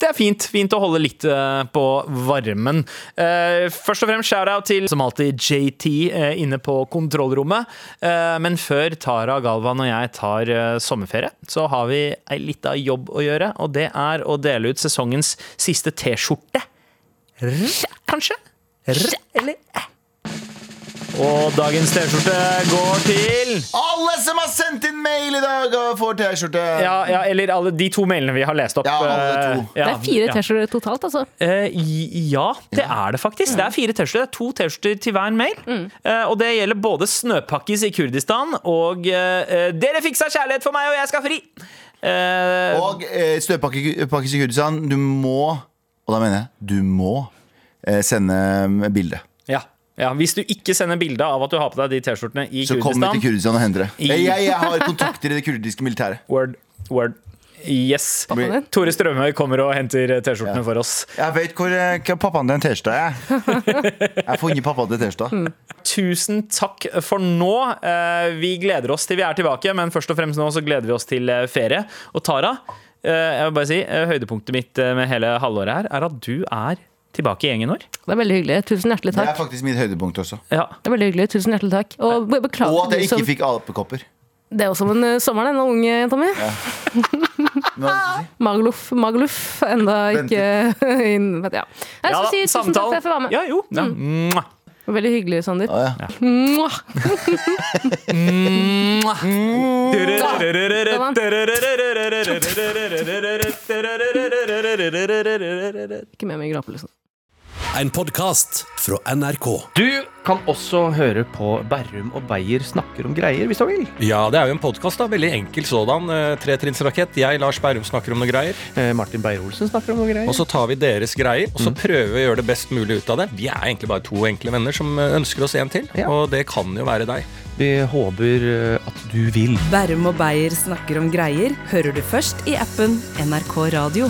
B: det er fint. Fint å holde litt eh, på varmen. Eh, først og fremst shout-out til som alltid JT eh, inne på kontrollrommet. Eh, men før Tara, Galvan og jeg tar eh, sommerferie, så har vi ei lita jobb å gjøre. Og det er å dele ut sesongens siste T-skjorte. R- Kanskje? R- Eller æ. Og dagens T-skjorte går til
D: Alle som har sendt inn mail i dag og får T-skjorte!
B: Ja, ja eller alle, de to mailene vi har lest opp.
D: Ja, alle to.
B: eh,
C: Det
B: ja,
C: er fire
B: ja.
C: T-skjorter totalt, altså.
B: Eh, i- ja, det er det faktisk. Det er fire T-skjorter. Det er to T-skjorter til hver mail.
C: Mm.
B: Eh, og det gjelder både Snøpakkis i Kurdistan og eh, eh, Dere fiksa kjærlighet for meg, og jeg skal fri! Eh,
D: Og eh, støvpakke pakkes i Kurdistan. Du må, og da mener jeg du må, eh, sende bilde.
B: ja. ja. Hvis du ikke sender bilde av at du har på deg de T-skjortene i
D: Så kom vi
B: Kurdistan
D: til Kurdistan og hent det.
B: I-
D: Jeg, jeg, jeg har kontakter i det kurdiske militæret.
B: Word. Word. Yes.
D: din?
B: Tore Strømøy kommer og henter T-skjortene for oss.
D: Jeg vet hvor, eh, hvor pappaen til en T-skjorte Mm, er. Jeg får ingen pappa til T-skjorta.
B: Tusen takk for nå. Eh, Vi gleder oss til vi er tilbake, men først og fremst nå så gleder vi oss til eh, ferie. Og Tara, eh, jeg vil bare si, eh, høydepunktet mitt eh, med hele halvåret her er at du er tilbake i gjengen vår.
C: Det er veldig hyggelig. Tusen hjertelig
D: Det
C: takk.
D: er faktisk mitt høydepunkt også.
B: Ja.
C: Det er veldig hyggelig, tusen hjertelig takk Og be- beklager
D: Og at
C: til
D: jeg
C: de som-
D: ikke fikk apekopper.
C: Det er også om en eh, sommeren, en ung eh, jenta mi Magluf, Magluf Enda ikke inn, vet jeg. Jeg skal
B: da,
C: si tusen takk for at jeg får være med Mm.
B: Ja, jo. Ja. Mwah.
C: Veldig hyggelig, Sander
D: Ja,
C: Mwah. Ikke med meg i grapelysen
I: En podkast fra NRK.
J: Du kan også høre på Berrum og Beyer snakker om greier, hvis du vil.
K: Ja, det er jo en podkast, da. Veldig enkel sådan. Eh, Tretrinnsrakett. Jeg, Lars Berrum, snakker om noe greier.
J: Eh, Martin Beyer-Olsen snakker om noen greier. Mm.
K: Og så tar vi deres greier, og så prøver vi å gjøre det best mulig ut av det. Vi er egentlig bare to enkle venner som eh, ønsker oss en til,
J: Ja.
K: og det kan jo være deg.
J: Vi håper eh, at du vil.
A: Bærum og Beyer snakker om greier hører du først i appen NRK Radio.